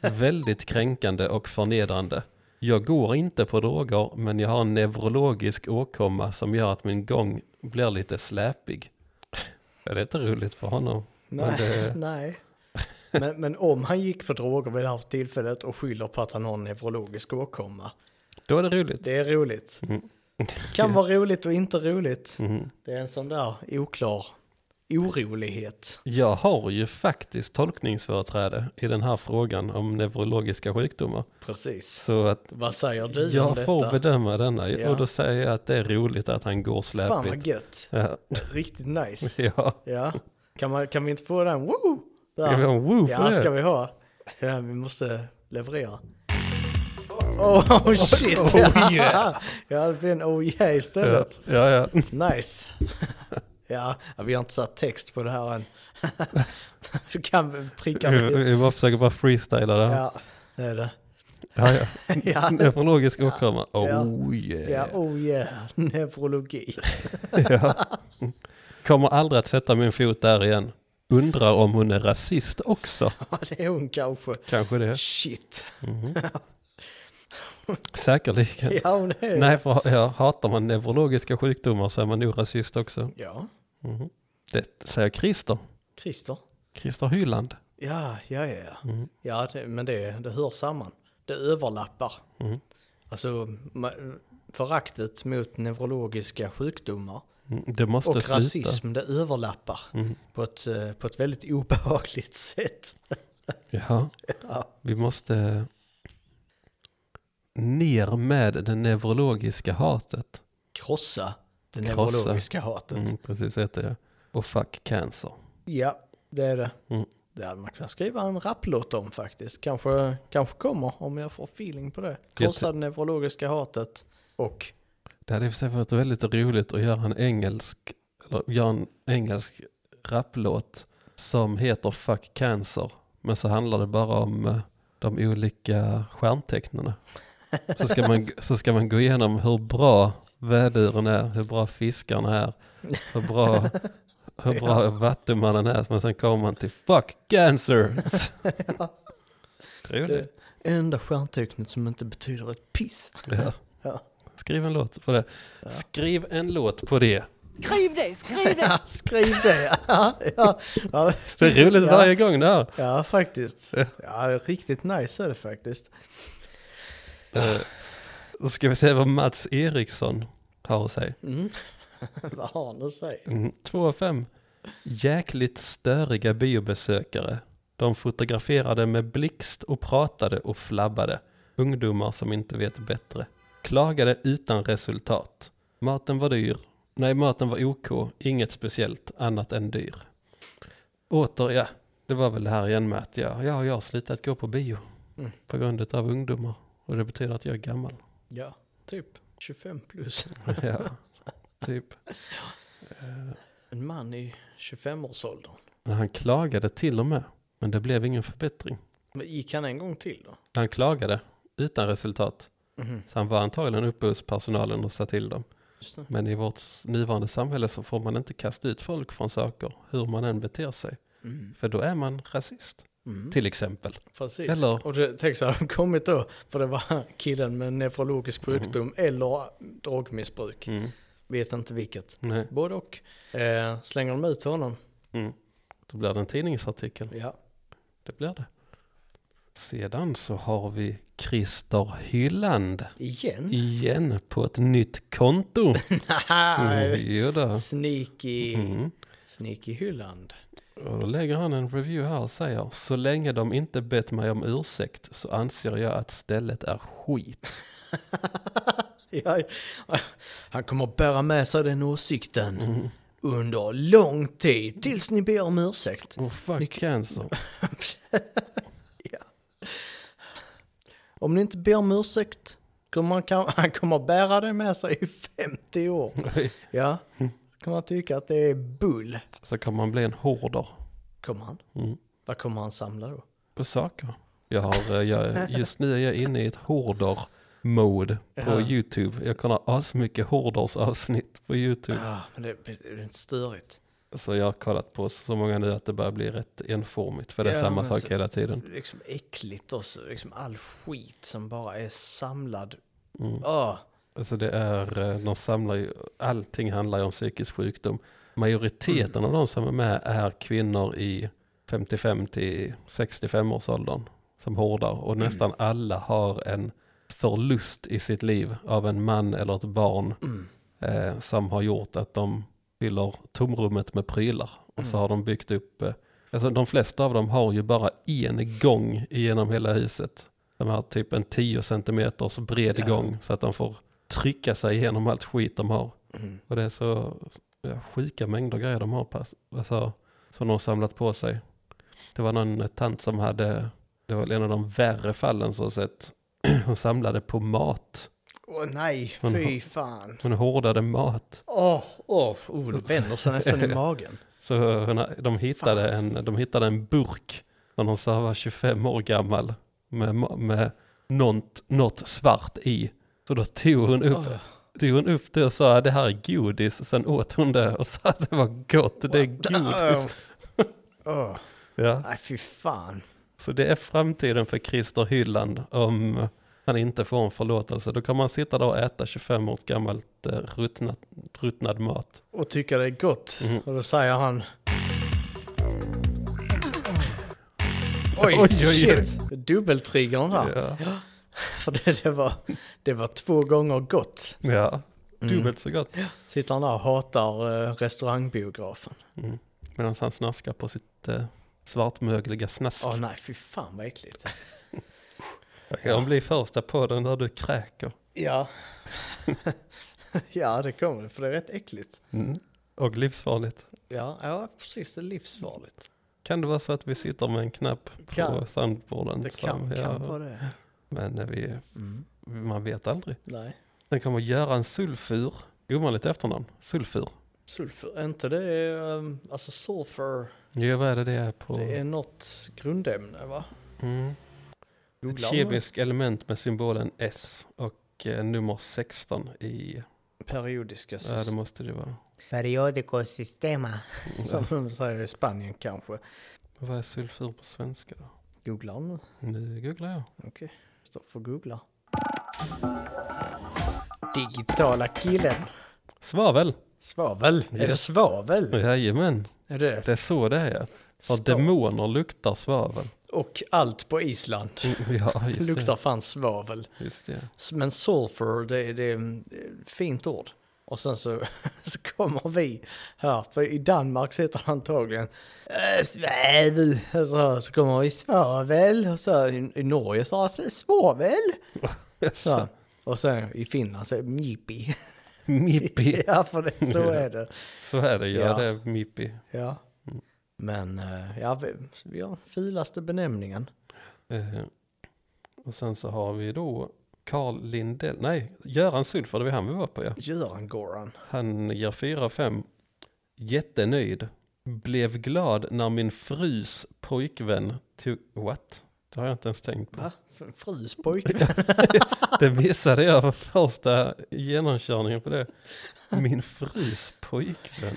Väldigt kränkande och förnedrande. Jag går inte på droger, men jag har en neurologisk åkomma som gör att min gång blir lite släpig. Ja, Det är inte roligt för honom.
Nej.
Men det,
Nej. Men, men om han gick för droger vid det här tillfället och skyller på att han har en neurologisk åkomma.
då är det roligt.
Det är roligt.
Mm.
Kan vara roligt och inte roligt.
Mhm.
Det är en sån där oklar orolighet.
Jag har ju faktiskt tolkningsföreträde i den här frågan om neurologiska sjukdomar.
Precis.
Så att
Vad säger du om
jag
detta?
får bedöma denna.
Ja.
Och då säger jag att det är roligt att han går
Fan vad
släpigt.
gött.
Ja.
Riktigt nice.
ja.
Ja. Kan, man, kan vi inte få den? Woo! Där.
Ska vi ha en woo för
Ja,
det?
ska vi ha. Ja, vi måste leverera. Oh, oh shit! Oh, yeah. ja, det blir en oh yeah
Ja,
istället.
ja. ja.
Nice. ja, vi har inte satt text på det här än. du kan väl pricka
Vi,
mig.
vi bara försöker bara freestyla det. här.
Ja, det är det.
Ja, ja.
Ja.
Neurologisk åkomma. Oh
Ja.
yeah.
Ja, oh yeah. Neurologi.
Ja. Kommer aldrig att sätta min fot där igen. Undrar om hon är rasist också.
Ja, det är hon kanske.
Kanske det.
Shit.
Säkerligen.
Ja, hon är
Nej, för ja, hatar man neurologiska sjukdomar så är man nog rasist också.
Ja,
Mhm. Det säger Christer.
Christer.
Christer Hyland.
Ja, ja, ja. ja.
Mm.
Ja, det, men det, det hör samman. Det överlappar.
Mm.
Alltså ma- föraktet mot neurologiska sjukdomar
Mm, Det måste
och
sluta.
rasism, det överlappar
Mm.
på, ett, eh, på ett väldigt obehagligt sätt.
Ja,
Ja.
vi måste ner med det neurologiska hatet.
Krossa det
Krossa.
neurologiska hatet.
Mm, precis, heter det. Och fuck cancer.
Ja, det är det.
Mm.
Det hade man kunnat skriva en rapplåt om faktiskt. Kanske, kanske kommer om jag får feeling på det. Krossa det neurologiska hatet och
Det hade i och för sig varit väldigt roligt att göra en engelsk, eller göra en engelsk rapplåt som heter Fuck Cancer. Men så handlar det bara om eh, de olika stjärntecknena. Så ska man, så ska man gå igenom hur bra väduren är, hur bra fiskarna är, hur bra, hur bra vattumannen är. Men sen kommer man till Fuck Cancer. Roligt.
enda stjärntecknet som inte betyder ett piss.
Ja.
Ja.
Skriv en låt på det. Skriv en låt på det.
Skriv det, skriv det!
Ja, skriv det. Ja, ja, ja.
Det är roligt varje gång det här.
Ja, faktiskt. Ja, riktigt nice är det faktiskt.
Eh, Då ska vi se vad Mats Eriksson har att säga.
Mm. Vad har han att säga?
Mm, Två av fem. Jäkligt störiga biobesökare. De fotograferade med blixt och pratade och flabbade. Ungdomar som inte vet bättre. Klagade utan resultat. Maten var dyr. Nej, maten var OK. Inget speciellt annat än dyr. Åter, ja. Det var väl det här igen med att jag, ja, jag har slutat gå på bio.
Mm.
På grund av ungdomar. Och det betyder att jag är gammal.
Ja, typ 25 plus.
ja, typ. Eh,
En man i 25-årsåldern.
Men han klagade till och med. Men det blev ingen förbättring.
Men gick han en gång till då?
Han klagade utan resultat.
Mhm.
Så han var antagligen uppe hos personalen och sa till dem.
Just det.
Men i vårt nuvarande samhälle så får man inte kasta ut folk från saker hur man än beter sig.
Mm.
För då är man rasist.
Mm.
Till exempel.
Precis.
Eller-
Och det, tänk så hade de kommit då, för det var killen med neurologisk sjukdom eller drogmissbruk.
Mhm. Mm.
Vet inte vilket.
Nej.
Både och. Eh, slänger de ut honom?
Mm. Då blir det en tidningsartikel.
Ja.
Det blir det. Sedan så har vi Christer Hyland
Igen?
igen på ett nytt konto.
Haha,
Jo då.
Sneaky,
Mm.
sneaky Hylland.
Och då lägger han en review här och säger Så länge de inte bett mig om ursäkt så anser jag att stället är skit.
Ja, han kommer bära med sig den åsikten
Mm.
under lång tid, tills ni ber om ursäkt.
Oh fuck cancer.
Om ni inte ber om ursäkt, kommer han, kan- han kommer bära det med sig i 50 år. Ja,
Mm.
kommer han tycka att det är bull.
så kommer man bli en hoarder
Kommer han?
Mm.
Vad kommer han samla då?
på saker. Jag har, eh, jag, just nu är jag inne i ett hoarder-mode på
Ja.
YouTube. Jag kollar asmycket hoarders avsnitt på YouTube.
Ah, men det, det är inte störigt.
Så jag har kollat på så många nu att det börjar bli rätt enformigt. För det är
Ja,
samma
men
sak
så-
hela tiden.
Liksom äckligt och så, liksom all skit som bara är samlad. Ah,
Mm.
Åh,
Alltså det är, eh, de samlar ju, allting handlar ju om psykisk sjukdom. Majoriteten
Mm.
av de som är med är kvinnor i 55 till 65 års åldern som hårdar.
Mm.
Och nästan alla har en förlust i sitt liv av en man eller ett barn
mm.
eh, som har gjort att de fyller tomrummet med prylar. Och så
Mm.
har de byggt upp, eh, alltså de flesta av dem har ju bara en gång genom hela huset. De har typ en 10 centimeters bred
Ja.
gång så att de får trycka sig igenom allt skit de har.
Mm.
Och det är så ja, sjuka mängder grejer de har pass, alltså, som de har samlat på sig. Det var någon tant som hade, det var en av de värre fallen så sett, hon samlade på mat.
Åh, nej,
Men
fy fan.
Hon hårdade mat.
Åh, åh, oh, det vänder sig nästan i magen.
Så hon, de, hittade en, de hittade en burk som de sa var 25 år gammal med, ma- med något, något svart i. Så då tog hon upp,
Åh.
tog hon upp det och sa det här är godis. Sen åt hon det och sa att det var gott, det är godis.
Åh,
Ja.
nej fy fan.
Så det är framtiden för Christer Hylland om han inte får en förlåtelse. Då kan man sitta där och äta 25 år gammalt eh, ruttnat, ruttnad mat.
Och tycker det är gott.
Mm.
Och då säger han... Oj,
Oj, oj, oj.
shit! Dubbeltriggern där.
Ja.
För det, det, var, det var två gånger gott.
ja,
Mm.
dubbelt så gott.
Sitter han där och hatar eh, restaurangbiografen.
Mm. Medan han snaskar på sitt eh, svartmögliga snask.
Åh nej, fy fan vad äckligt.
Det kan bli första podden där du kräker.
Ja. ja, det kommer det, för det är rätt äckligt.
Och livsfarligt.
Ja, ja precis, det är livsfarligt.
Kan det vara så att vi sitter med en knapp på
Kan.
soundboarden?
Det
som-
kan,
ja,
kan vara det.
Men eh, vi,
Mm.
man vet aldrig.
Nej.
Sen kommer Göran Sulfur. Ovanligt efternamn. Sulfur.
Sulfur, är inte det, um, alltså sulfur,
Ja, vad är det det är på?
det är något grundämne va?
Mm. Ett
Googlar man
kemiskt element med symbolen S och eh, nummer 16 i...
Periodiska
Ja, det
system.
måste det vara.
Periodico sistema. Som de säger i Spanien kanske.
Vad är sulfur på svenska då?
Googlar nu.
Nu googlar jag.
Står för googla. Digitala killen.
Svavel!
Svavel. Är det svavel?
Jajamän,
Är det?
det är så det är. För
Svavel.
demoner luktar svavel.
Och allt på Island
Ja, just
luktar fan svavel.
det. Just det.
S- Men sulfur, det, det är mm, ett fint ord. Och sen så, så kommer vi här, för i Danmark sitter han antagligen "Äh, svavel, och så, så kommer vi svavel, och så i, i Norge så har svavel. Så. Och sen i Finland så är det mjippi.
Mippi.
Ja, för det, så är det.
Så är det, ja,
Ja.
det är mippi.
Ja. Men eh, ja, vi, vi har filaste benämningen.
Eh, Och sen så har vi då Carl Lindell, nej, Göran Sulfur, det var han vi var på ja.
Göran Goran.
Han ger 4 av 5. Jättenöjd. Blev glad när min frus pojkvän tog... What? Det har jag inte ens tänkt på.
Va? F- Frus pojkvän?
Det missade jag för första genomkörningen på det. Min frus pojkvän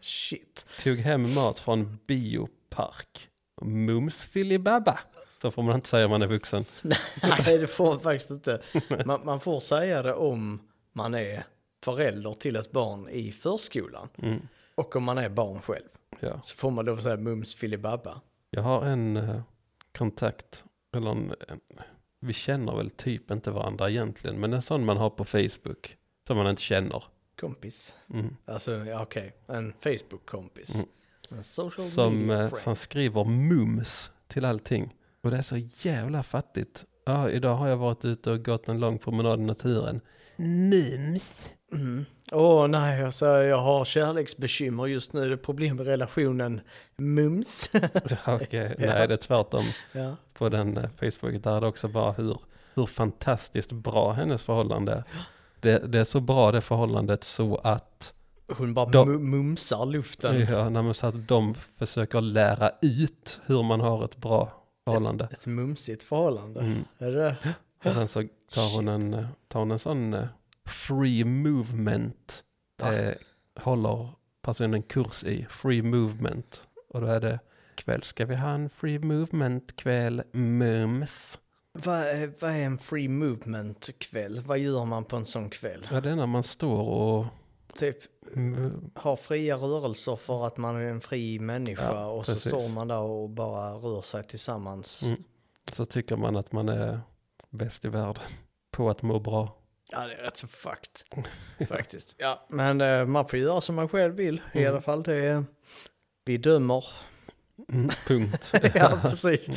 Shit.
tog hem mat från biopark. Mums filibabba. Så får man inte säga om man är vuxen.
Nej, det får man faktiskt inte. Man, man får säga det om man är förälder till ett barn i förskolan.
Mm.
Och om man är barn själv.
Ja.
Så får man då säga mums filibabba.
Jag har en eh, kontakt, eller en, en, vi känner väl typ inte varandra egentligen, men en sån man har på Facebook som man inte känner.
Kompis.
Mm.
Alltså, ja, okej. En Facebook-kompis.
Mm.
En social
Som,
media
eh,
friend.
som skriver mums till allting. Och det är så jävla fattigt. Ja, idag har jag varit ute och gått en lång promenad i naturen. Mums.
Mm. Åh nej, jag säger jag har kärleksbekymmer just nu. Det är problem med relationen mums.
Okej, nej det är tvärtom.
ja.
På den eh, Facebook där är det också bara hur, hur fantastiskt bra hennes förhållande är. Det, det är så bra det förhållandet så att
Hon bara
Då- Mm.
mu- mumsar luften.
Ja, nej, men så att de försöker lära ut hur man har ett bra förhållande.
Ett mumsigt förhållande.
Mm.
Är det?
Och sen så tar hon en, eh, tar hon en sån eh, free movement.
Va?
Eh, håller personen en kurs i free movement. Och då är det kväll ska vi ha en free movement kväll mums.
Vad är, vad är en free movement kväll? Vad gör man på en sån kväll?
Ja, det är när man står och
Typ
mm,
har fria rörelser för att man är en fri människa
Ja,
och
precis.
så står man där och bara rör sig tillsammans.
Mm. så tycker man att man är bäst i världen på att må bra.
Ja, det är rätt så fucked faktiskt. Ja, men eh, man får göra som man själv vill i alla fall. Det är, vi dömer.
Mm, punkt.
ja, precis.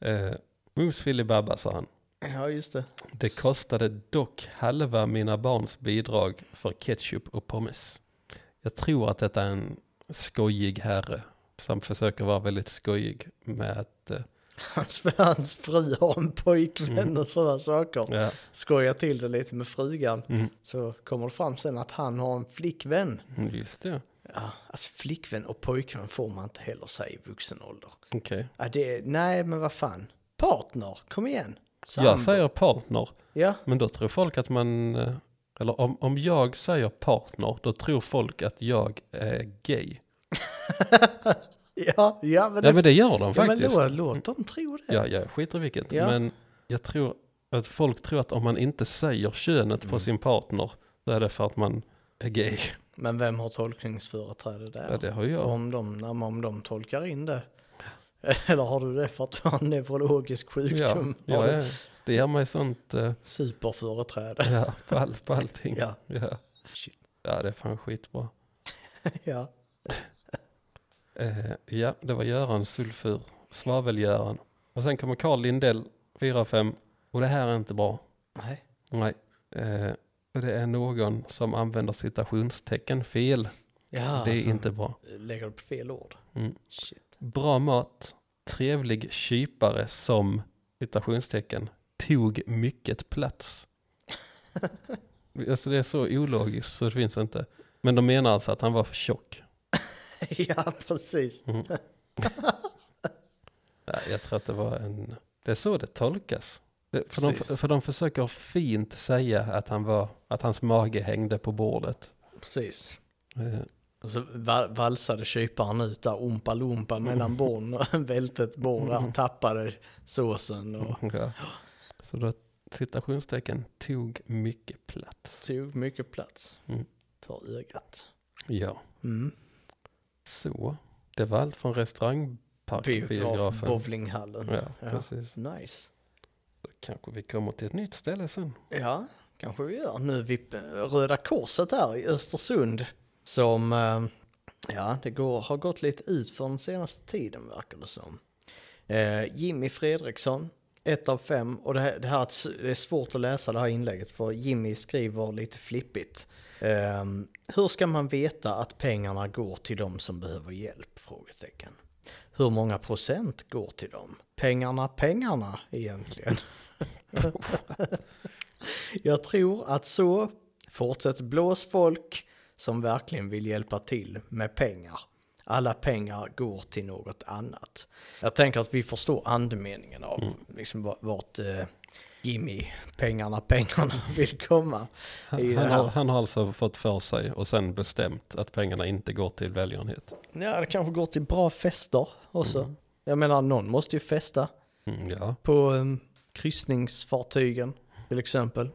Eh, Mums filibabba sa han.
Ja, just det.
Det kostade dock halva mina barns bidrag för ketchup och pommes. Jag tror att detta är en skojig herre som försöker vara väldigt skojig med att... eh,
Hans, hans fru har en pojkvän och sådana saker.
Mm. Ja,
Skoja till det lite med frugan.
mm,
Så kommer det fram sen att han har en flickvän.
just det.
Ja, alltså flickvän och pojkvän får man inte heller säga i vuxen ålder.
Okej.
Ja, det, nej, men vad fan. Partner, kom igen. Sambo.
Jag säger partner,
Ja,
men då tror folk att man... eh, Eller om, om jag säger partner, då tror folk att jag är gay.
ja, ja, men, det,
Ja men det gör de
ja, men
faktiskt. Mm.
låt, låt dem tro det.
Ja, jag skiter i vilket.
Ja.
Men jag tror att folk tror att om man inte säger könet på sin partner så är det för att man är gay.
Men vem har tolkningsföreträde där?
Ja, det har
För
jag.
om, de, när man, om de tolkar in det. Eller har du det för att du har en neurologisk
Ja,
sjukdom?
ja,
Har du
ja. det ger mig sånt eh,
Superföreträde.
ja, på, all, på allting.
Ja.
Ja.
Shit.
ja, det är fan skitbra.
Ja.
Eh, ja, det var Göran Sulfur, svavelgöran. Och sen kommer Carl Lindell, 4-5. Och det här är inte bra.
Nej.
Nej. Eh, och det är någon som använder citationstecken fel.
Ja,
det är
alltså,
inte bra.
Lägger du på fel ord?
Mm.
Shit.
Bra mat, trevlig kypare som, citationstecken, tog mycket plats. alltså det är så ologiskt så det finns inte. Men de menar alltså att han var för tjock. Mm.
ja, precis.
Nej, jag tror att det var en... Det är så det tolkas. Det, för, de,
Precis.
för de försöker fint säga att, han var, att hans mage hängde på bordet.
Precis.
Eh,
Och så va- valsade kyparen ut där, umpa lumpa
Mm.
mellan borden och välte ett bord där och tappade såsen och
ja. Så då, citationstecken, tog mycket plats.
tog mycket plats
Mm.
för ögat.
Ja.
Mm.
Så, det var allt från
Biograf,
restaurangparkbiografen.
bowlinghallen.
Ja,
Ja.
precis.
Nice.
Då kanske vi kommer till ett nytt ställe sen.
Ja, kanske vi gör. Nu vid eh, Röda Korset här i Östersund som, eh, ja, det går, har gått lite ut för den senaste tiden verkar det som. Eh, Jimmy Fredriksson, ett av fem, och det här, det här är ett s- det är svårt att läsa det här inlägget för Jimmy skriver lite flippigt. Eh, Hur ska man veta att pengarna går till de som behöver hjälp? Frågetecken. Hur många procent går till dem? Pengarna, pengarna egentligen. Jag tror att så fortsätt blås folk som verkligen vill hjälpa till med pengar. Alla pengar går till något annat. Jag tänker att vi förstår andemeningen av
Mm.
liksom va- vart eh, Jimmy, pengarna, pengarna vill komma. I det
Han har,
här.
han har alltså fått för sig och sen bestämt att pengarna inte går till välgörenhet.
Ja, det kanske går till bra fester också. Jag menar, någon måste ju festa
Mm, ja,
på um, kryssningsfartygen till exempel.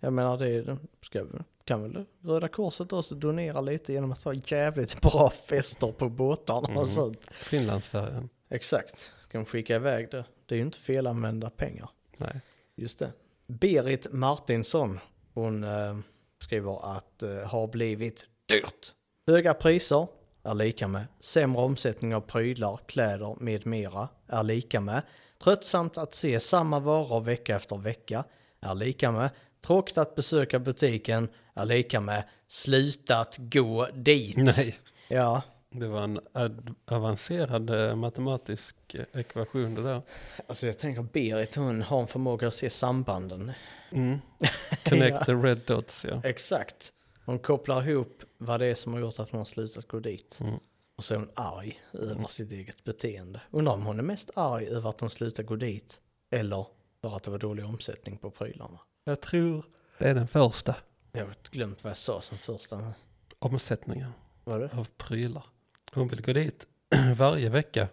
Jag menar det är- ska, kan väl Röda Korset också donera lite genom att ha jävligt bra fester på båtarna och sånt.
Finlandsfärjan.
Exakt, ska de skicka iväg det? Det är ju inte felanvända pengar.
Nej.
Just det. Berit Martinsson, hon eh, skriver att eh, har blivit dyrt. Höga priser är lika med sämre omsättning av prylar, kläder med mera är lika med tröttsamt att se samma varor vecka efter vecka är lika med tråkigt att besöka butiken är lika med slutat gå dit.
Nej,
Ja,
det var en ad- avancerad eh, matematisk eh, ekvation det där.
alltså jag tänker Berit hon har en förmåga att se sambanden.
Mm. Connect
Ja.
the red dots, ja.
Exakt. Hon kopplar ihop vad det är som har gjort att hon har slutat gå dit.
Mm.
Och så är hon arg över sitt eget beteende. Undrar om hon är mest arg över att hon slutar gå dit. Eller för att det var dålig omsättning på prylarna.
Jag tror det är den första
Jag har glömt vad jag sa som första.
omsättningen.
Vadå?
av prylar. Hon vill gå dit varje vecka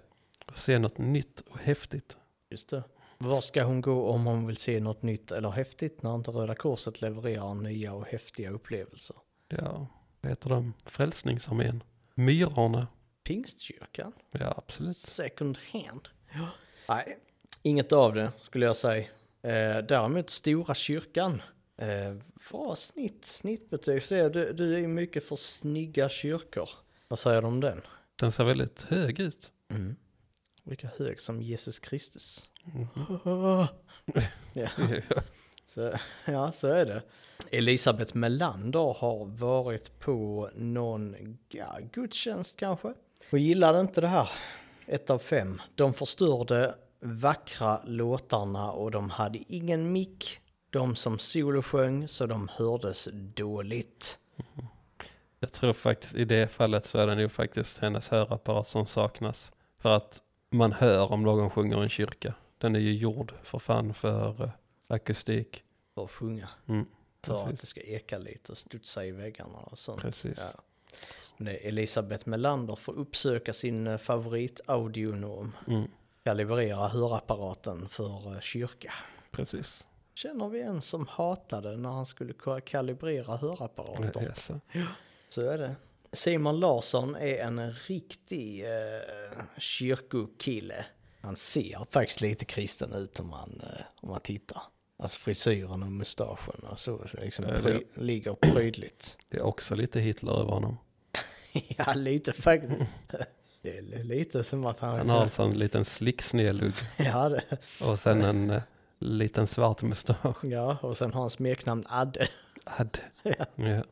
och se något nytt och häftigt.
Just det. Var ska hon gå om hon vill se något nytt eller häftigt när inte Röda Korset levererar nya och häftiga upplevelser?
Ja, vad heter de? Frälsningsarmén. Myrorna.
Pingstkyrkan?
Ja, absolut.
Second hand? Ja. Nej, inget av det skulle jag säga. Eh, däremot Stora Kyrkan. Eh, vad snitt, snittbetyg säger du, du är mycket för snygga kyrkor. Vad säger du om den?
Den ser väldigt hög ut.
Lika hög som Jesus Kristus. ja.
Ja.
Så, ja, så är det. Elisabeth Melander har varit på någon ja, gudstjänst kanske. Hon gillade inte det här. Ett av fem. De förstörde vackra låtarna och de hade ingen mick. De som solo sjöng så de hördes dåligt.
Jag tror faktiskt i det fallet så är det nog faktiskt hennes hörapparat som saknas. För att man hör om någon sjunger i en kyrka. Den är ju gjord för fan för eh, akustik.
För att sjunga.
Mm,
för att
precis.
det ska eka lite och studsa i väggarna och sånt.
Precis.
Ja. Men Elisabeth Melander får uppsöka sin eh, favoritaudionom.
Mm,
kalibrera hörapparaten för eh, kyrka.
precis.
Känner vi en som hatade när han skulle ka- kalibrera hörapparater?
Ja, så.
Så är det. Simon Larsson är en riktig eh, kyrkokille. Han ser faktiskt lite kristen ut om man, eh, om man tittar. Alltså frisyren och mustaschen och så liksom
Ja, det-
pry- ligger prydligt.
Det är också lite Hitler över honom.
ja, lite faktiskt. Det är lite som att han...
Han har alltså en liten slick snedlugg
Ja, det,
och sen en eh, liten svart mustasch.
ja, och sen har han smeknamn Adde.
Ad. Ja.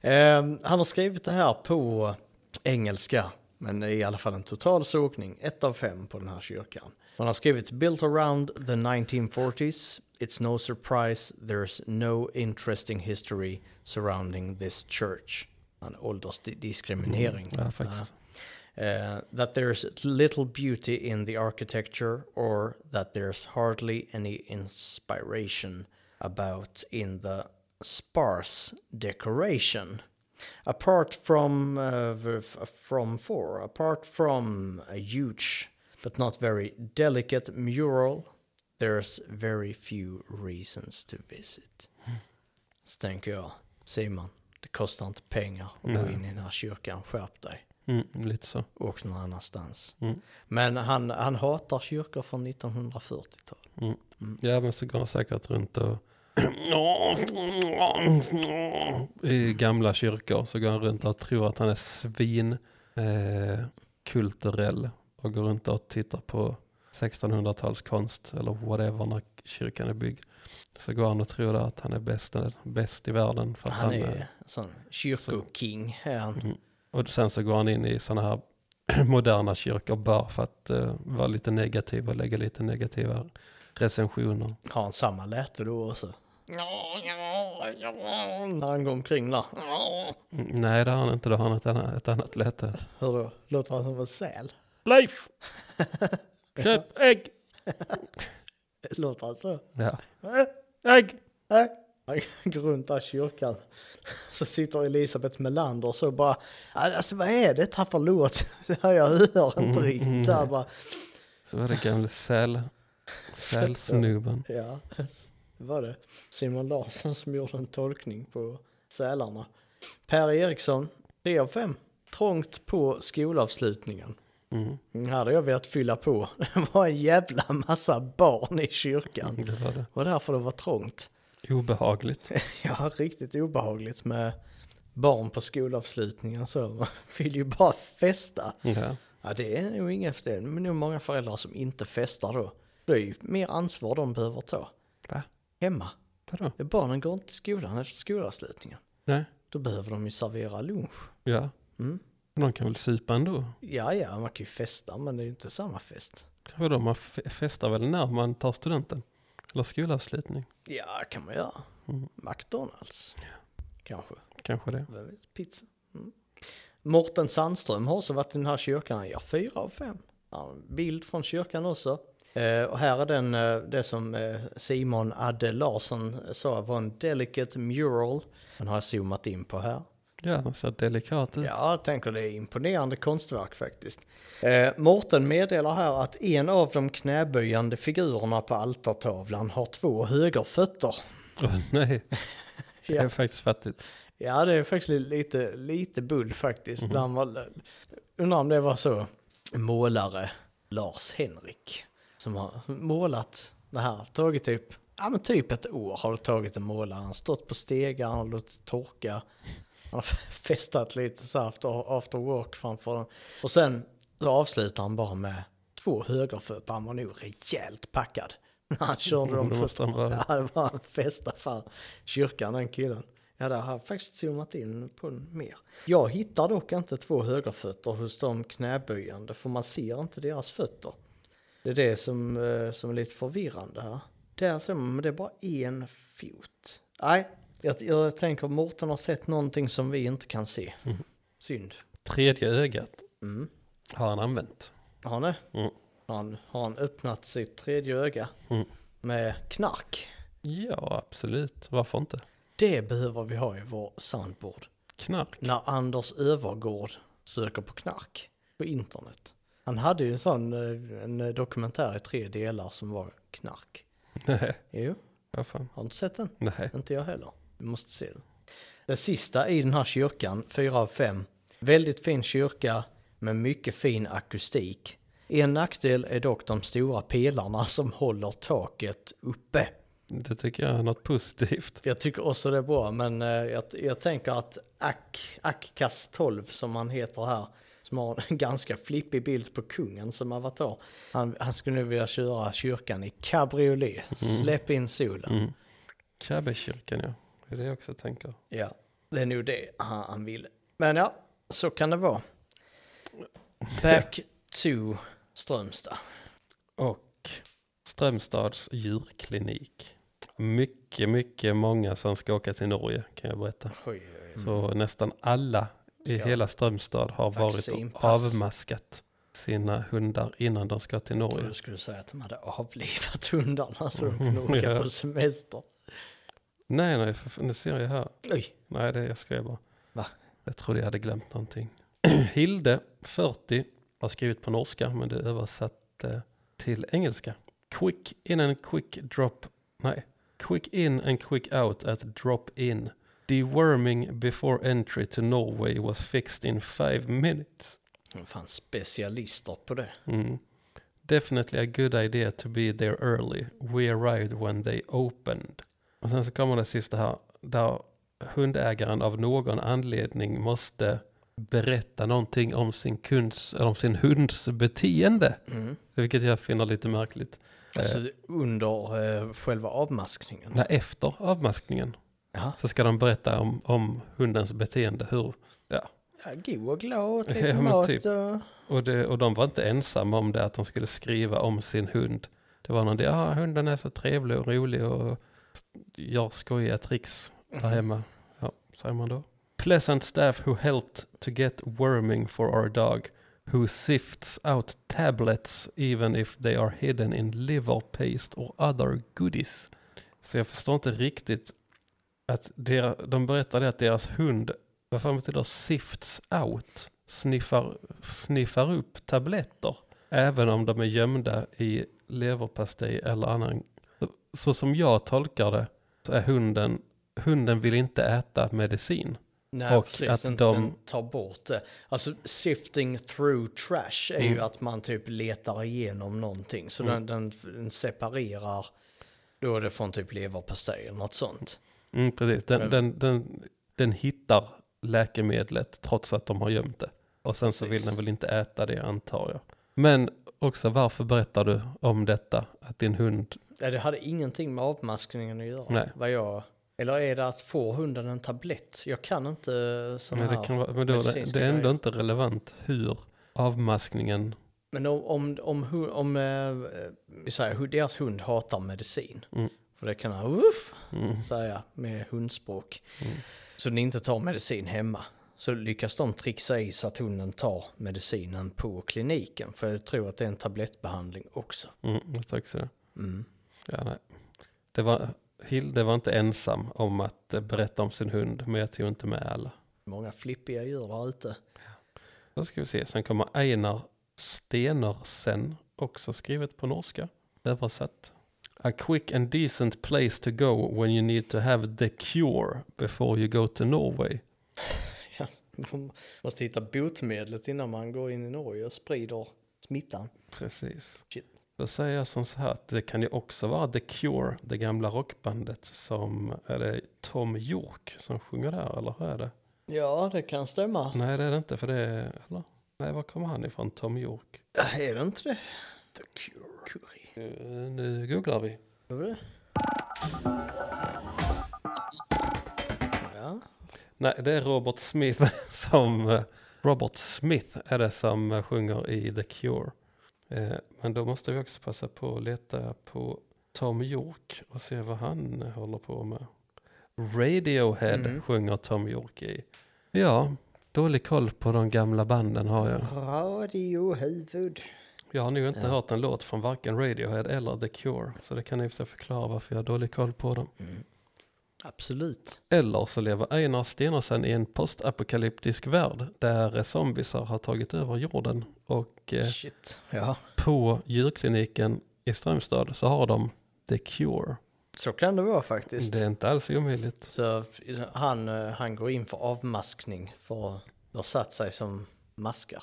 Ehm, han har skrivit det här på engelska, men det är i alla fall en total sågning, ett av fem på den här kyrkan. Han har skrivit “Built around the 1940s, it's no surprise there's no interesting history surrounding this church”. En åldersdiskriminering.
Mm, ja, faktiskt.
Uh, that there's little beauty in the architecture or that there's hardly any inspiration about in the sparse decoration. Apart from uh, v- f- from four, apart from a huge but not very delicate mural, there's very few reasons to visit. Så tänker jag, Simon, det kostar inte pengar att gå in i den här kyrkan, skärp dig
Mm, lite så.
åkt någon annanstans.
Mm.
Men han, han hatar kyrkor från 1940-talet.
Mm. Ja, men så går han säkert runt och... I gamla kyrkor så går han runt och tror att han är svin eh, kulturell och går runt och tittar på 1600-talskonst eller whatever när kyrkan är byggd. Så går han och tror att han är bäst, bäst i världen. För att
Han
han eh, Mm.
är sån kyrkoking. är han.
Och sen så går han in i sådana här moderna kyrkor bara för att eh, vara lite negativ och lägga lite negativa recensioner.
Har han samma läte då också? När han går omkring där.
Mm, Nej, det har han inte. Då har han ett annat, ett annat läte.
Hur då? Låter han som en säl?
Leif! Köp ägg!
Låter han så?
Ja. Ägg!
Nej. Han går runt där i kyrkan. Så sitter Elisabeth Melander och så bara, alltså vad är det här för låt? Så här, Jag hör inte riktigt. Så här bara,
Så var det gamle säl... Sälsnubben.
Ja, det var det. Simon Larsson som gjorde en tolkning på sälarna. Per Eriksson, 3 av 5. Trångt på skolavslutningen.
Mm,
Mm, Här hade jag velat fylla på. Det var en jävla massa barn i kyrkan.
det var det.
Det var därför det var trångt.
Obehagligt.
Ja, riktigt obehagligt med barn på skolavslutningar så. Man vill ju bara festa.
Ja.
Ja, det är nog inget efter det. Men nog många föräldrar som inte festar då. Det är ju mer ansvar de behöver ta.
Va?
Hemma.
Vadå?
Barnen går inte till skolan efter skolavslutningen.
Nej.
Då behöver de ju servera lunch.
Ja.
Mm.
De kan väl supa ändå?
Ja, ja, man kan ju festa, men det är ju inte samma fest.
Vadå, man fe- festar väl när man tar studenten? Eller skolavslutning?
Ja, kan man göra.
Mm.
McDonalds. Kanske.
Kanske det.
Vem vet, Pizza. Mm. Mårten Sandström har också varit i den här kyrkan. Han gör fyra av fem. Han har en bild från kyrkan också. Eh, och här är den, eh, det som eh, Simon Adde Larsson sa var en delicate mural. Den har jag zoomat in på här.
Ja, den ser delikat ut.
Ja, jag tänker det är imponerande konstverk faktiskt. Eh, Mårten meddelar här att en av de knäböjande figurerna på altartavlan har två högerfötter.
Åh, nej, det är
Ja,
faktiskt fattigt.
ja, det är faktiskt lite, lite bull faktiskt. Där var, undrar om det var så målare Lars Henrik som har målat det här. Tagit typ, ja men typ ett år har det tagit att måla. Han har stått på stegar, han har låtit torka. Han har festat lite så här after, after work framför den. Och sen så avslutar han bara med två högerfötter. Han var nog rejält packad. När han körde dem
det måste han vara.
Ja, det var en festa fan. Kyrkan den killen. Ja, där har jag faktiskt zoomat in på den mer. Jag hittar dock inte två högerfötter hos de knäböjande. För man ser inte deras fötter. Det är det som, eh, som är lite förvirrande här. Där ser man, men det är bara en fot. Nej, jag, jag tänker Mårten har sett någonting som vi inte kan se.
Mm.
Synd.
Tredje ögat
Mm.
har han använt.
Har ni?
Mm.
Har han, har han öppnat sitt tredje öga
Mm.
med knark?
Ja, absolut. Varför inte?
Det behöver vi ha i vår soundboard.
Knark.
När Anders Övergård söker på knark på internet. Han hade ju en sån eh, en dokumentär i tre delar som var knark.
Nej,
Jo,
vad fan.
har du inte sett den?
Nej.
Inte jag heller. Vi måste se den. Den sista i den här kyrkan, fyra av fem. Väldigt fin kyrka med mycket fin akustik. En nackdel är dock de stora pelarna som håller taket uppe.
Det tycker jag är något positivt.
Jag tycker också det är bra, men eh, jag, jag tänker att Ak, Akkas 12 som han heter här, som har en ganska flippig bild på kungen som avatar. Han, han skulle nu vilja köra kyrkan i cabriolet, släpp in solen.
Mm. Kabbekyrkan, ja. Det är det jag också tänker.
Ja, det är nog det han, han ville. Men ja, så kan det vara. Back to Strömstad.
Och Strömstads djurklinik. Mycket, mycket många som ska åka till Norge kan jag berätta.
Oj, oj, oj.
Så nästan alla i
Mm. Ska-
hela Strömstad har varit och
Vaccinpass.
avmaskat sina hundar innan de ska till
Jag trodde
Norge.
du skulle säga att de hade avlivat hundarna så de kunde åka
Mm. Ja.
på semester.
Nej, nej, för, nu ser jag här.
Oj,
Nej, det jag skrev bara.
Va?
Jag trodde jag hade glömt någonting. Hilde, 40, har skrivit på norska, men det är översatt eh, till engelska. Quick in and quick drop. Nej, quick in and quick out at drop in. Deworming before entry to Norway was fixed in five minutes.
de fanns specialister på det.
Mm. Definitely a good idea to be there early. We arrived when they opened. Och sen så kommer det sista här. Där hundägaren av någon anledning måste berätta någonting om sin, kunds, eller om sin hunds beteende.
Mm.
Vilket jag finner lite märkligt.
Alltså under eh, själva avmaskningen.
När efter avmaskningen
Jaha.
så ska de berätta om, om hundens beteende. Hur, ja.
Ja, god och glad och
Ja,
tyckte
men
mat
typ.
och...
Och, det, och de var inte ensamma om det, att de skulle skriva om sin hund. Det var någon, ja hunden är så trevlig och rolig och gör skojiga tricks
Mhm.
där hemma. Ja, säger man då. Pleasant staff who helped to get worming for our dog, who sifts out tablets even if they are hidden in liver paste or other goodies. Så jag förstår inte riktigt att dera, de berättade att deras hund, vad fan betyder sifts out? Sniffar, sniffar upp tabletter, även om de är gömda i leverpastej eller annan. Så, så som jag tolkar det så är hunden, hunden vill inte äta medicin.
Nej,
Och
precis.
att
den,
de-
den tar bort det. Alltså sifting through trash är
Mm.
ju att man typ letar igenom någonting. Så den, den, den separerar då är det från typ leverpastej eller något sånt.
Mm, precis. Den,
Men-
den, den, den hittar läkemedlet trots att de har gömt det. Och sen så vill
Precis.
den väl inte äta det antar jag. Men också varför berättar du om detta? Att din hund,
Ja, det hade ingenting med avmaskningen att göra.
Nej.
Vad jag... Eller är det att får hunden en tablett? Jag kan inte sådana
men,
här.
det, kan vara, men då, är det,
medicinska
det är ändå
grejer.
inte relevant hur avmaskningen,
Men om, om, om, hu- om, eh, vi säger, hu- deras hund hatar medicin.
Mm.
För det kan han uff,
Mm.
säga med hundspråk. Så den inte tar medicin hemma. Så lyckas de trixa i så att hunden tar medicinen på kliniken. För jag tror att det är en tablettbehandling också.
mm, jag tror också det.
Mm.
Ja, nej. Det var, Hilde var inte ensam om att eh, berätta om sin hund, men jag tog inte med alla.
Många flippiga djur där ute.
Då ska vi se, sen kommer Einar Stenersen, också skrivet på norska, översatt. A quick and decent place to go when you need to have the cure before you go to Norway.
Ja, de måste hitta botemedlet innan man går in i Norge och sprider smittan.
Precis.
Shit.
Då säger jag som så här att det kan ju också vara The Cure, det gamla rockbandet som, är det Tom York som sjunger där eller hur är det?
Ja, det kan stämma.
Nej det är det inte för det är, eller? Nej var kommer han ifrån, Tom York?
Äh, Är det inte det? The Cure.
Eh, Nu googlar vi.
Gör vi det? Ja.
Nej, det är Robert Smith som... eh, Robert Smith är det som eh, sjunger i The Cure. Eh, Men då måste vi också passa på att leta på Tom York och se vad han håller på med. Radiohead
Mm.
sjunger Tom York i. Ja, dålig koll på de gamla banden har jag.
Radiohuvud.
Jag har nog inte
Ja.
hört en låt från varken Radiohead eller The Cure. Så det kan i och för sig förklara varför jag har dålig koll på dem.
Absolut.
Eller så lever Einar Stenersen i en postapokalyptisk värld där zombisar har tagit över jorden. Och eh,
Shit. Ja.
på djurkliniken i Strömstad så har de The Cure.
Så kan det vara faktiskt.
Det är inte alls omöjligt.
Så han, eh, han går in för avmaskning för att de har satt sig som maskar.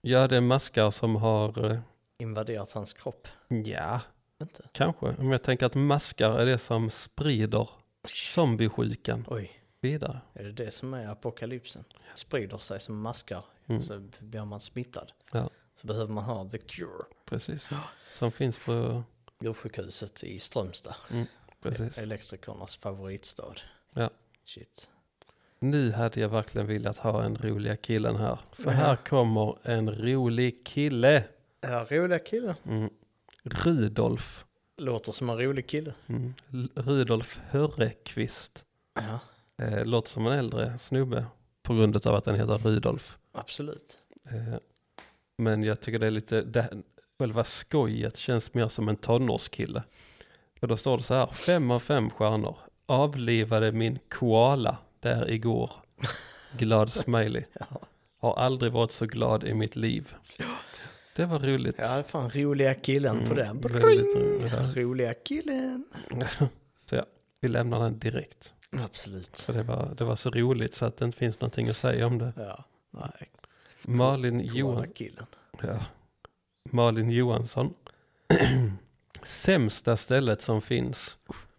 Ja, det är maskar som har, eh,
Invaderat hans kropp.
ja,
Inte?
kanske. Men jag tänker att maskar är det som sprider zombiesjukan
Oj,
vidare.
är det det som är apokalypsen? Sprider sig som maskar
Mm.
så blir man smittad.
Ja.
Så behöver man ha the cure.
Precis. Som finns på,
Djursjukhuset i Strömstad.
precis.
Elektrikernas favoritstad.
Ja.
Shit.
Nu hade jag verkligen velat ha en roliga killen här. För här kommer en rolig kille.
Ja, roliga killen.
Mm. Rudolf.
Låter som en rolig kille.
Mm. L- Rudolf Hörrekvist.
Ja,
Eh, låter som en äldre snubbe på grund av att den heter Rudolf.
absolut.
Eh, men jag tycker det är lite, det, själva skojet känns mer som en tonårskille. Och då står det så här, fem av fem stjärnor. Avlivade min koala där igår. Glad smiley.
Ja.
Har aldrig varit så glad i mitt liv. Det var roligt.
Ja, det är fan roliga killen på
Mm,
den.
väldigt roligt. Ja.
Roliga killen.
Så ja, vi lämnar den direkt.
Absolut.
För det var, det var så roligt så att det inte finns någonting att säga om det.
Ja, nej.
Malin,
Johan.
Johan,
killen.
ja. Malin Johansson. Sämsta stället som finns.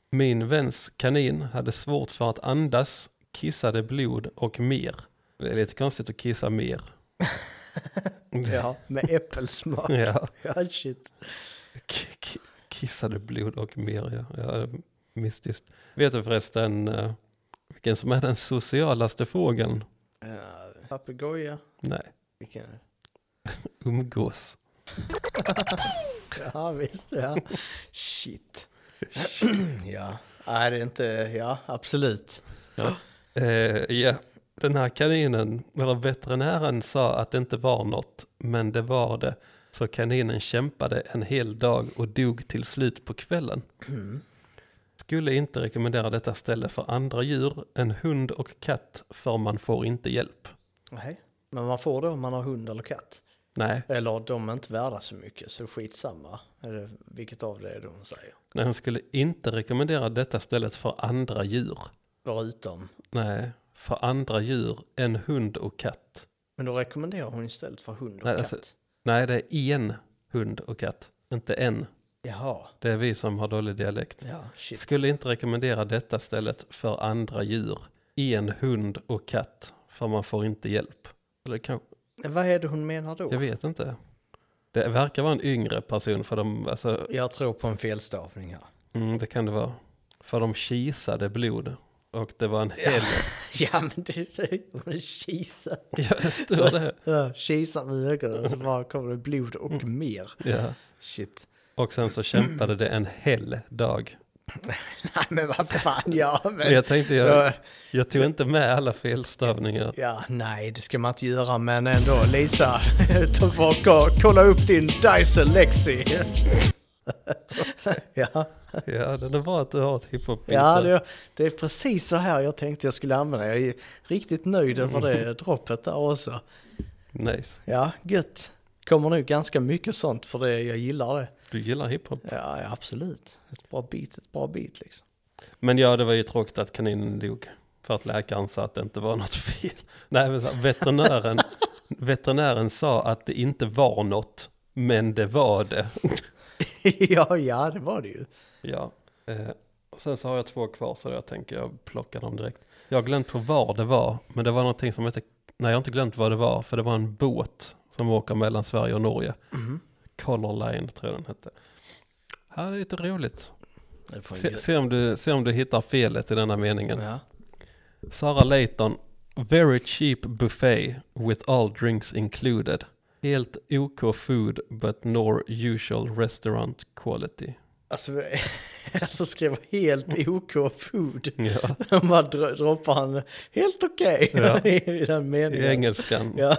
Min väns kanin hade svårt för att andas, kissade blod och mer. Det är lite konstigt att kissa mer.
Ja, med äppelsmak.
ja.
ja, shit.
K- k- Kissade blod och mer, ja. ja det är mystiskt. Vet du förresten eh, vilken som är den socialaste fågeln?
Ja, Papegoja.
Nej,
Vilken?
umgås.
Ja, visst ja. Shit. ja, nej det är inte, ja absolut.
Eh, ja, den här kaninen, eller veterinären sa att det inte var något, men det var det. Så kaninen kämpade en hel dag och dog till slut på kvällen. Skulle inte rekommendera detta ställe för andra djur än hund och katt, för man får inte hjälp.
Nej. Men man får det om man har hund eller katt.
Nej,
Eller de är inte värda så mycket, så skitsamma. Eller vilket av det är det hon säger.
nej, hon skulle inte rekommendera detta stället för andra djur.
Förutom.
Nej, för andra djur än hund och katt.
Men då rekommenderar hon istället för hund och
Nej,
katt.
alltså- Nej, det är en hund och katt, inte en.
Jaha.
Det är vi som har dålig dialekt.
Ja, shit.
Skulle inte rekommendera detta stället för andra djur. En hund och katt, för man får inte hjälp. Eller kanske,
Vad är det hon menar då?
jag vet inte. Det verkar vara en yngre person, för de, alltså,
Jag tror på en felstavning här.
mm, det kan det vara. För de kisade blod. Och det var en hel...
Ja, men det är hon är kisad.
Ja, det står det.
Ja, kisar med ögonen så bara kommer det blod och mer.
Ja.
Shit.
Och sen så kämpade det en hel dag.
Nej men vad fan, ja men.
Jag tänkte, jag, jag tog inte med alla felstavningar.
Ja, nej det ska man inte göra men ändå Lisa, ta bort och kolla upp din Dyson Lexi. ja.
Ja, den är bra att du har ett hiphop
Ja, det, det är precis så här jag tänkte jag skulle använda. Jag är riktigt nöjd över det droppet där också.
Nice.
Ja, gött. Kommer nog ganska mycket sånt för det, jag gillar det.
Du gillar hiphop.
Ja, ja, absolut. Ett bra beat, ett bra beat liksom.
Men ja, det var ju tråkigt att kaninen dog. För att läkaren sa att det inte var något fel. Nej, men så här, veterinären, veterinären sa att det inte var något, men det var det.
ja, ja, det var det ju.
Ja. Eh, och sen så har jag två kvar så jag tänker jag plockar dem direkt. Jag har glömt på var det var, men det var någonting som hette, nej jag har inte glömt vad det var, för det var en båt som åker mellan Sverige och Norge. Color Line tror jag den hette. Ja, det är lite roligt.
Det får
Se,
jag
se, om du, se om du hittar felet i denna meningen.
ja.
Sara Layton, very cheap buffet with all drinks included. Helt OK food but nor usual restaurant quality.
Alltså, alltså skrev helt OK food.
Ja,
Han bara dro- droppar han helt okej
Ja.
i den
i
meningen.
engelskan.
Ja.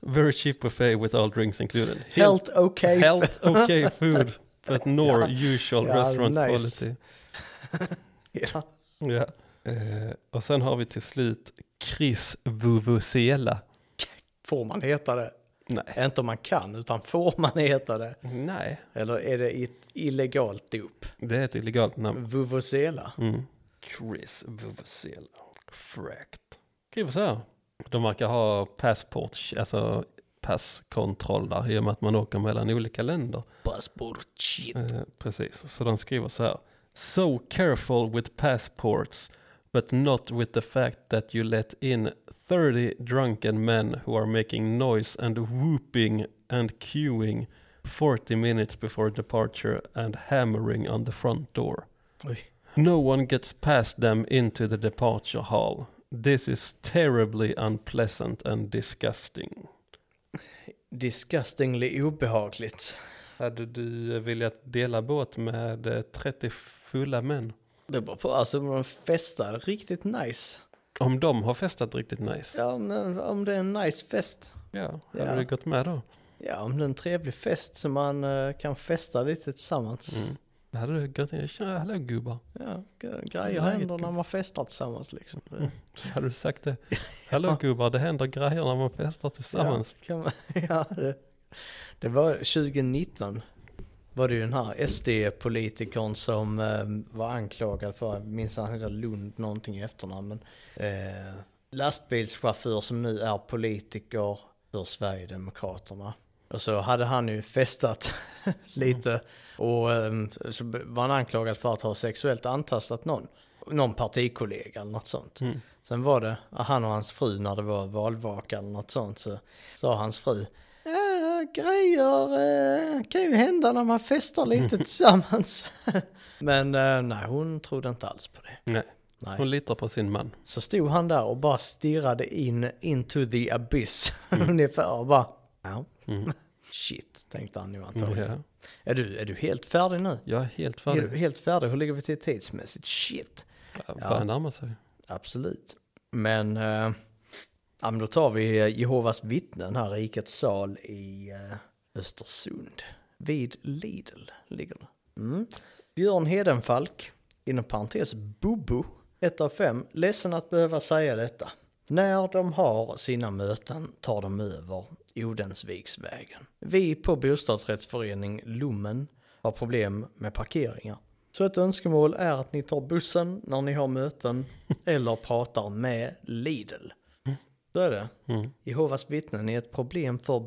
Very cheap buffet with all drinks included.
Helt okej.
helt okay food but nor usual
Ja,
restaurant
nice.
quality.
Ja.
Ja. Eh, och sen har vi till slut Chris Vuvuzela.
Får man heta det?
Nej.
Inte om man kan, utan får man heta det?
Nej,
Eller är det ett illegalt dop?
det är ett illegalt namn.
Vuvuzela?
Mm. Chris Vuvuzela. Fräckt. Skriver så här. De verkar ha passport, alltså passkontroll där, i och med att man åker mellan olika länder.
Passport shit.
Eh, precis, så de skriver så här. So careful with passports, but not with the fact that you let in 30 drunken men who are making noise and whooping and queuing 40 minutes before departure and hammering on the front door.
Oj.
No one gets past them into the departure hall. This is terribly unpleasant and disgusting.
Disgustingly obehagligt.
Hade du eh, velat dela båt med eh, 30 fulla män?
Det beror på, alltså om de festar riktigt nice.
Om de har festat riktigt nice,
Ja, men om det är en nice fest.
ja,
Ja.
hade du gått med då?
Ja, om det är en trevlig fest som man eh, kan festa lite tillsammans.
Mm. Då hade du gått in och tja, hallå gubbar.
Ja, g-
Läget
grejer händer
kan-
när man festar tillsammans liksom.
Mm. Så hade du sagt det, hallå gubbar, det händer grejer när man festar tillsammans.
Ja, kan man, ja, det- det var 2019 var det ju den här SD-politikern som eh, var anklagad för, jag minns han hette Lund någonting i efternamn, men eh, lastbilschaufför som nu är politiker för Sverigedemokraterna. Och så hade han ju festat lite och ehm, så var han anklagad för att ha sexuellt antastat någon, någon partikollega eller något sånt.
Mm.
Sen var det han och hans fru när det var valvaka eller något sånt så sa hans fru "Äh, grejer äh, kan ju hända när man festar lite tillsammans. Men eh, nej, hon trodde inte alls på det.
Nej,
Nej.
hon litar på sin man.
Så stod han där och bara stirrade in into the abyss ungefär och bara ja.
Mm.
Shit, tänkte han nu antagligen.
Ja.
Är, du, är du helt färdig nu?
Jag är helt
Är du
färdig,
helt färdig? Hur ligger vi till tidsmässigt? Shit.
börjar närma sig.
Absolut. Men, eh, ja, men då tar vi eh, Jehovas vittnen här, Rikets sal i eh, Östersund. Vid Lidl ligger det. Mm. Björn Hedenfalk, inom parentes Bobo, ett av fem, ledsen att behöva säga detta. När de har sina möten tar de över Odensviksvägen. Vi på bostadsrättsförening Lommen har problem med parkeringar. Så ett önskemål är att ni tar bussen när ni har möten eller pratar med Lidl. Så är det.
Mm.
Jehovas vittnen är ett problem för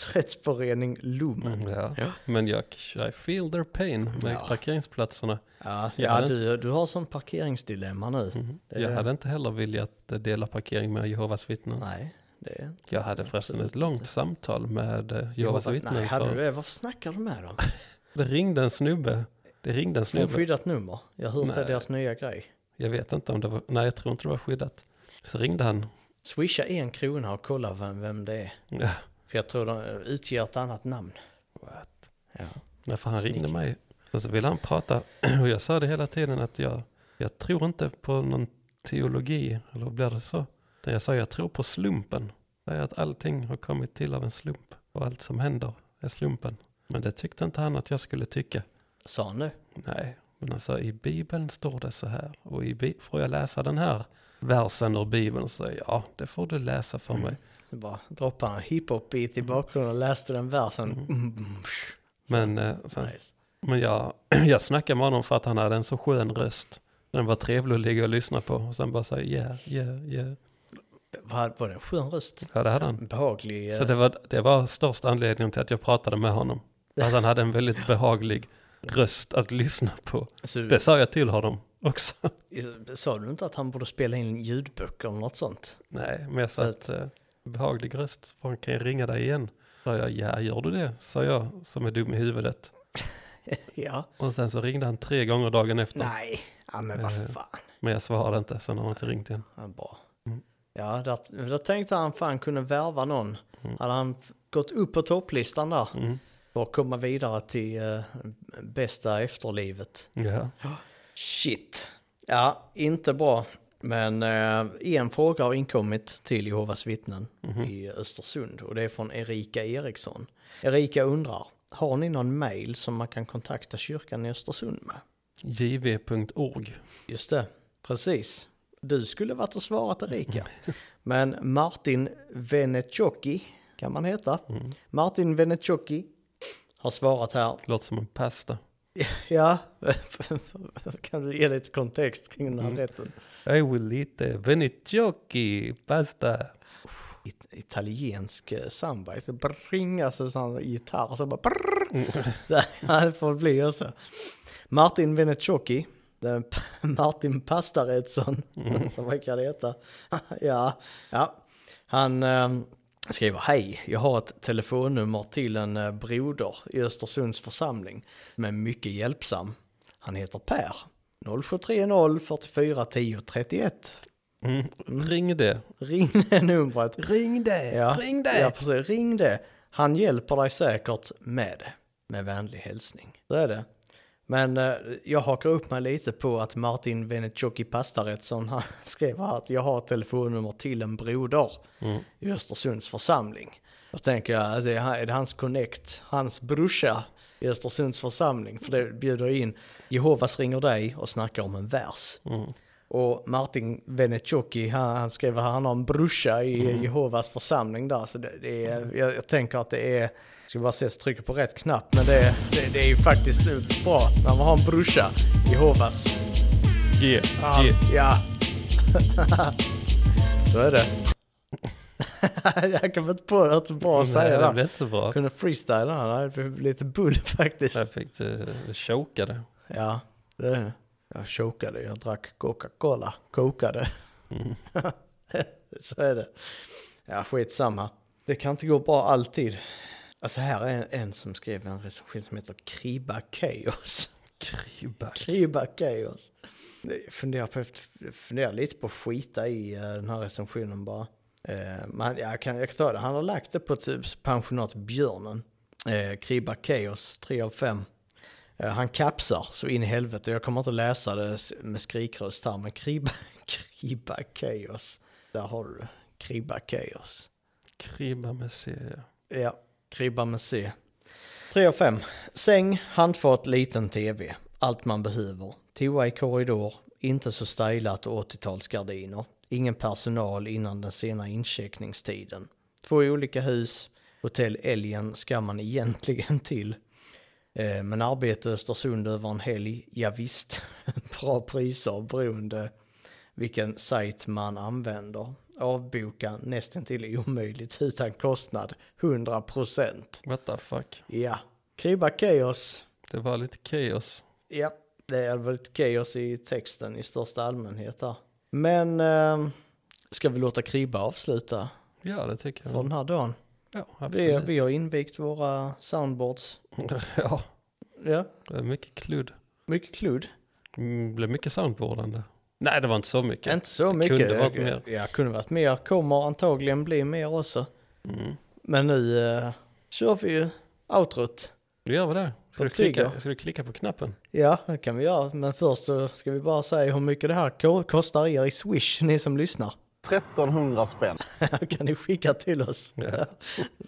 bostadsrättsförening Lommen.
Ja.
Ja.
Men jag, I feel their pain med
Ja.
parkeringsplatserna.
Ja,
Jag
ja
hade Mm.
du, du har sån parkeringsdilemma nu. Det-
Jag hade inte heller velat eh, dela parkering med Jehovas vittnen.
Nej, det är...
Jag hade förresten
Absolut
ett långt samtal med eh, Jehovas
Nej,
vittnen.
hade du
för-
det? Varför snackar du med dem?
Det ringde en snubbe. Det ringde
Från
en snubbe.
skyddat nummer. Jag har hört det är
Nej.
deras nya grej.
Jag vet inte om det var, nej jag tror inte det var skyddat. Så ringde han.
Swisha en krona och kolla vem, vem det är.
Ja,
För jag tror de eh, utger ett annat namn.
What?
Ja.
nej, för han
Sneaky.
ringde mig. Och så ville han prata. Och jag sa det hela tiden att jag, jag tror inte på någon teologi. Eller vad blir det så? Utan jag sa jag tror på slumpen. Det är att allting har kommit till av en slump. Och allt som händer är slumpen. Men det tyckte inte han att jag skulle tycka.
Sa han det?
Nej, men alltså i Bibeln står det så här. Och i Bi- får jag läsa den här versen ur Bibeln så säger jag, ja, det får du läsa för mig.
Så bara droppade han hiphop-beat i
Mm.
bakgrunden och läste den versen. Mm. mm, psh.
Men, eh, sen,
Nice.
men jag, jag snackade med honom för att han hade en så skön röst. Den var trevlig att ligga och lyssna på. Och sen bara säga yeah, yeah, yeah.
Vad var det? en Skön röst.
Ja, det hade han.
Behaglig. eh,
Så det var, det var största anledningen till att jag pratade med honom. Att han hade en väldigt behaglig röst att lyssna på.
så-
Det sa jag till honom också.
Sa du inte att han borde spela in ljudböcker eller något sånt?
Nej, men jag sa att eh, behaglig röst, fan kan jag ringa dig igen? Sa jag, ja gör du det? Sa jag, som är dum i huvudet.
Ja.
Och sen så ringde han tre gånger dagen efter.
Nej, ja, men
Eh.
vad fan.
Men jag svarade inte, sen har han inte ringt igen.
Ja, bra.
Mm.
Ja, där, där tänkte han fan kunde värva någon. Hade han f- gått upp på topplistan där.
Mm.
Och komma vidare till eh, bästa efterlivet.
Ja.
Shit. Ja, inte bra. Men eh, en fråga har inkommit till Jehovas vittnen i Östersund och det är från Erika Eriksson. Erika undrar, har ni någon mail som man kan kontakta kyrkan i Östersund med?
jv.org.
Just det, precis. Du skulle varit och svarat Erika. Men Martin Venetjocki, kan man heta. Martin Venetjocki har svarat här.
Låter som en pasta.
Ja, kan du ge lite kontext kring den här rätten?
I will eat a venitioki pasta.
it- italiensk eh, samba. Så bring, alltså sån gitarr och så bara brrr. Så här, ja, det får bli också. Martin Venetjocki, den P- Martin Pastarättsson, som man kan heta. ja, ja. Han ehm, skriver hej, jag har ett telefonnummer till en eh, broder i Östersunds församling som är mycket hjälpsam. Han heter Per. 0730 44 10 31.
Mm. Ring det.
Ring det numret.
Ring det. Ring det.
Ja, precis. Ring det. Han hjälper dig säkert med det. Med vänlig hälsning. Så är det. Men eh, jag hakar upp mig lite på att Martin Venetjoki Pastaretson han skrev här att jag har ett telefonnummer till en broder
Mm.
i Östersunds församling. Då tänker jag, alltså, är han- är det hans connect, hans brorsa i Östersunds församling? För det bjuder in Jehovas ringer dig och snackar om en vers.
Mm.
Och Martin Venetjoki, han, han skrev att han har en brorsa i
Mm.
Jehovas församling där. Så det, det är, jag, jag tänker att det är, ska bara se så trycker på rätt knapp, men det, det, det är ju faktiskt bra när man har en brorsa, Jehovas.
Ge,
Ja.
ge.
ja. så är det. jag kom inte på något bra att
Mm, Nej,
säga
det
där.
blev inte så bra.
Jag kunde freestyla här, det blev lite bull faktiskt.
Jag fick eh, choka det.
Ja, det, jag chokade, jag drack Coca-Cola, kokade. Så är det. Ja, skitsamma. Det kan inte gå bra alltid. Alltså här är en, en som skrev en recension som heter Kriba Chaos.
Kribba.
Kriba Chaos. Jag funderar, på, funderar lite på att skita i eh, den här recensionen bara. Eh, Men jag kan, jag kan ta det. Han har lagt det på typ pensionat Björnen. Eh, Kriba Chaos, 3 av 5. Eh, Han kapsar så in i helvete. Jag kommer inte läsa det s- med skrikröst här, men Kriba, Kriba Chaos. Där har du det. Kriba Chaos.
Kribba med C, ja.
Ja, kribba med C. 3 av 5. Säng, handfat, liten tv. Allt man behöver. Toa i korridor. Inte så stylat och 80-talsgardiner. Ingen personal innan den sena incheckningstiden. Två olika hus. Hotell Älgen ska man egentligen till. Eh, Men arbete i Östersund över en helg, ja visst. Bra priser beroende vilken sajt man använder. Avboka nästintill omöjligt utan kostnad, 100%.
What the fuck.
Ja, Kriba Chaos.
Det var lite kaos.
Ja, det är väl ett kaos i texten i största allmänhet där. Men eh, ska vi låta Kriba avsluta
Ja, det tycker
för
jag.
den här dagen?
Ja,
Vi,
absolut.
vi har invigt våra soundboards.
Ja,
Ja,
det var mycket kludd.
mycket kludd.
Mm, Det blev mycket soundboardande. Nej, det var inte så mycket.
Inte så mycket.
kunde varit mer.
Ja, kunde varit mer. Kommer antagligen bli mer också.
Mm.
Men nu eh, kör vi ju outrot.
Då gör vi det. Ska
På
du, klicka,
trigger.
ska du klicka på knappen?
Ja, det kan vi göra. Men först så ska vi bara säga hur mycket det här ko- kostar er i Swish, ni som lyssnar.
1300 spänn.
kan ni skicka till oss?
Ja.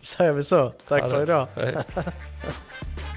Säger vi så. Tack
Ja,
för
då.
idag.
Hej.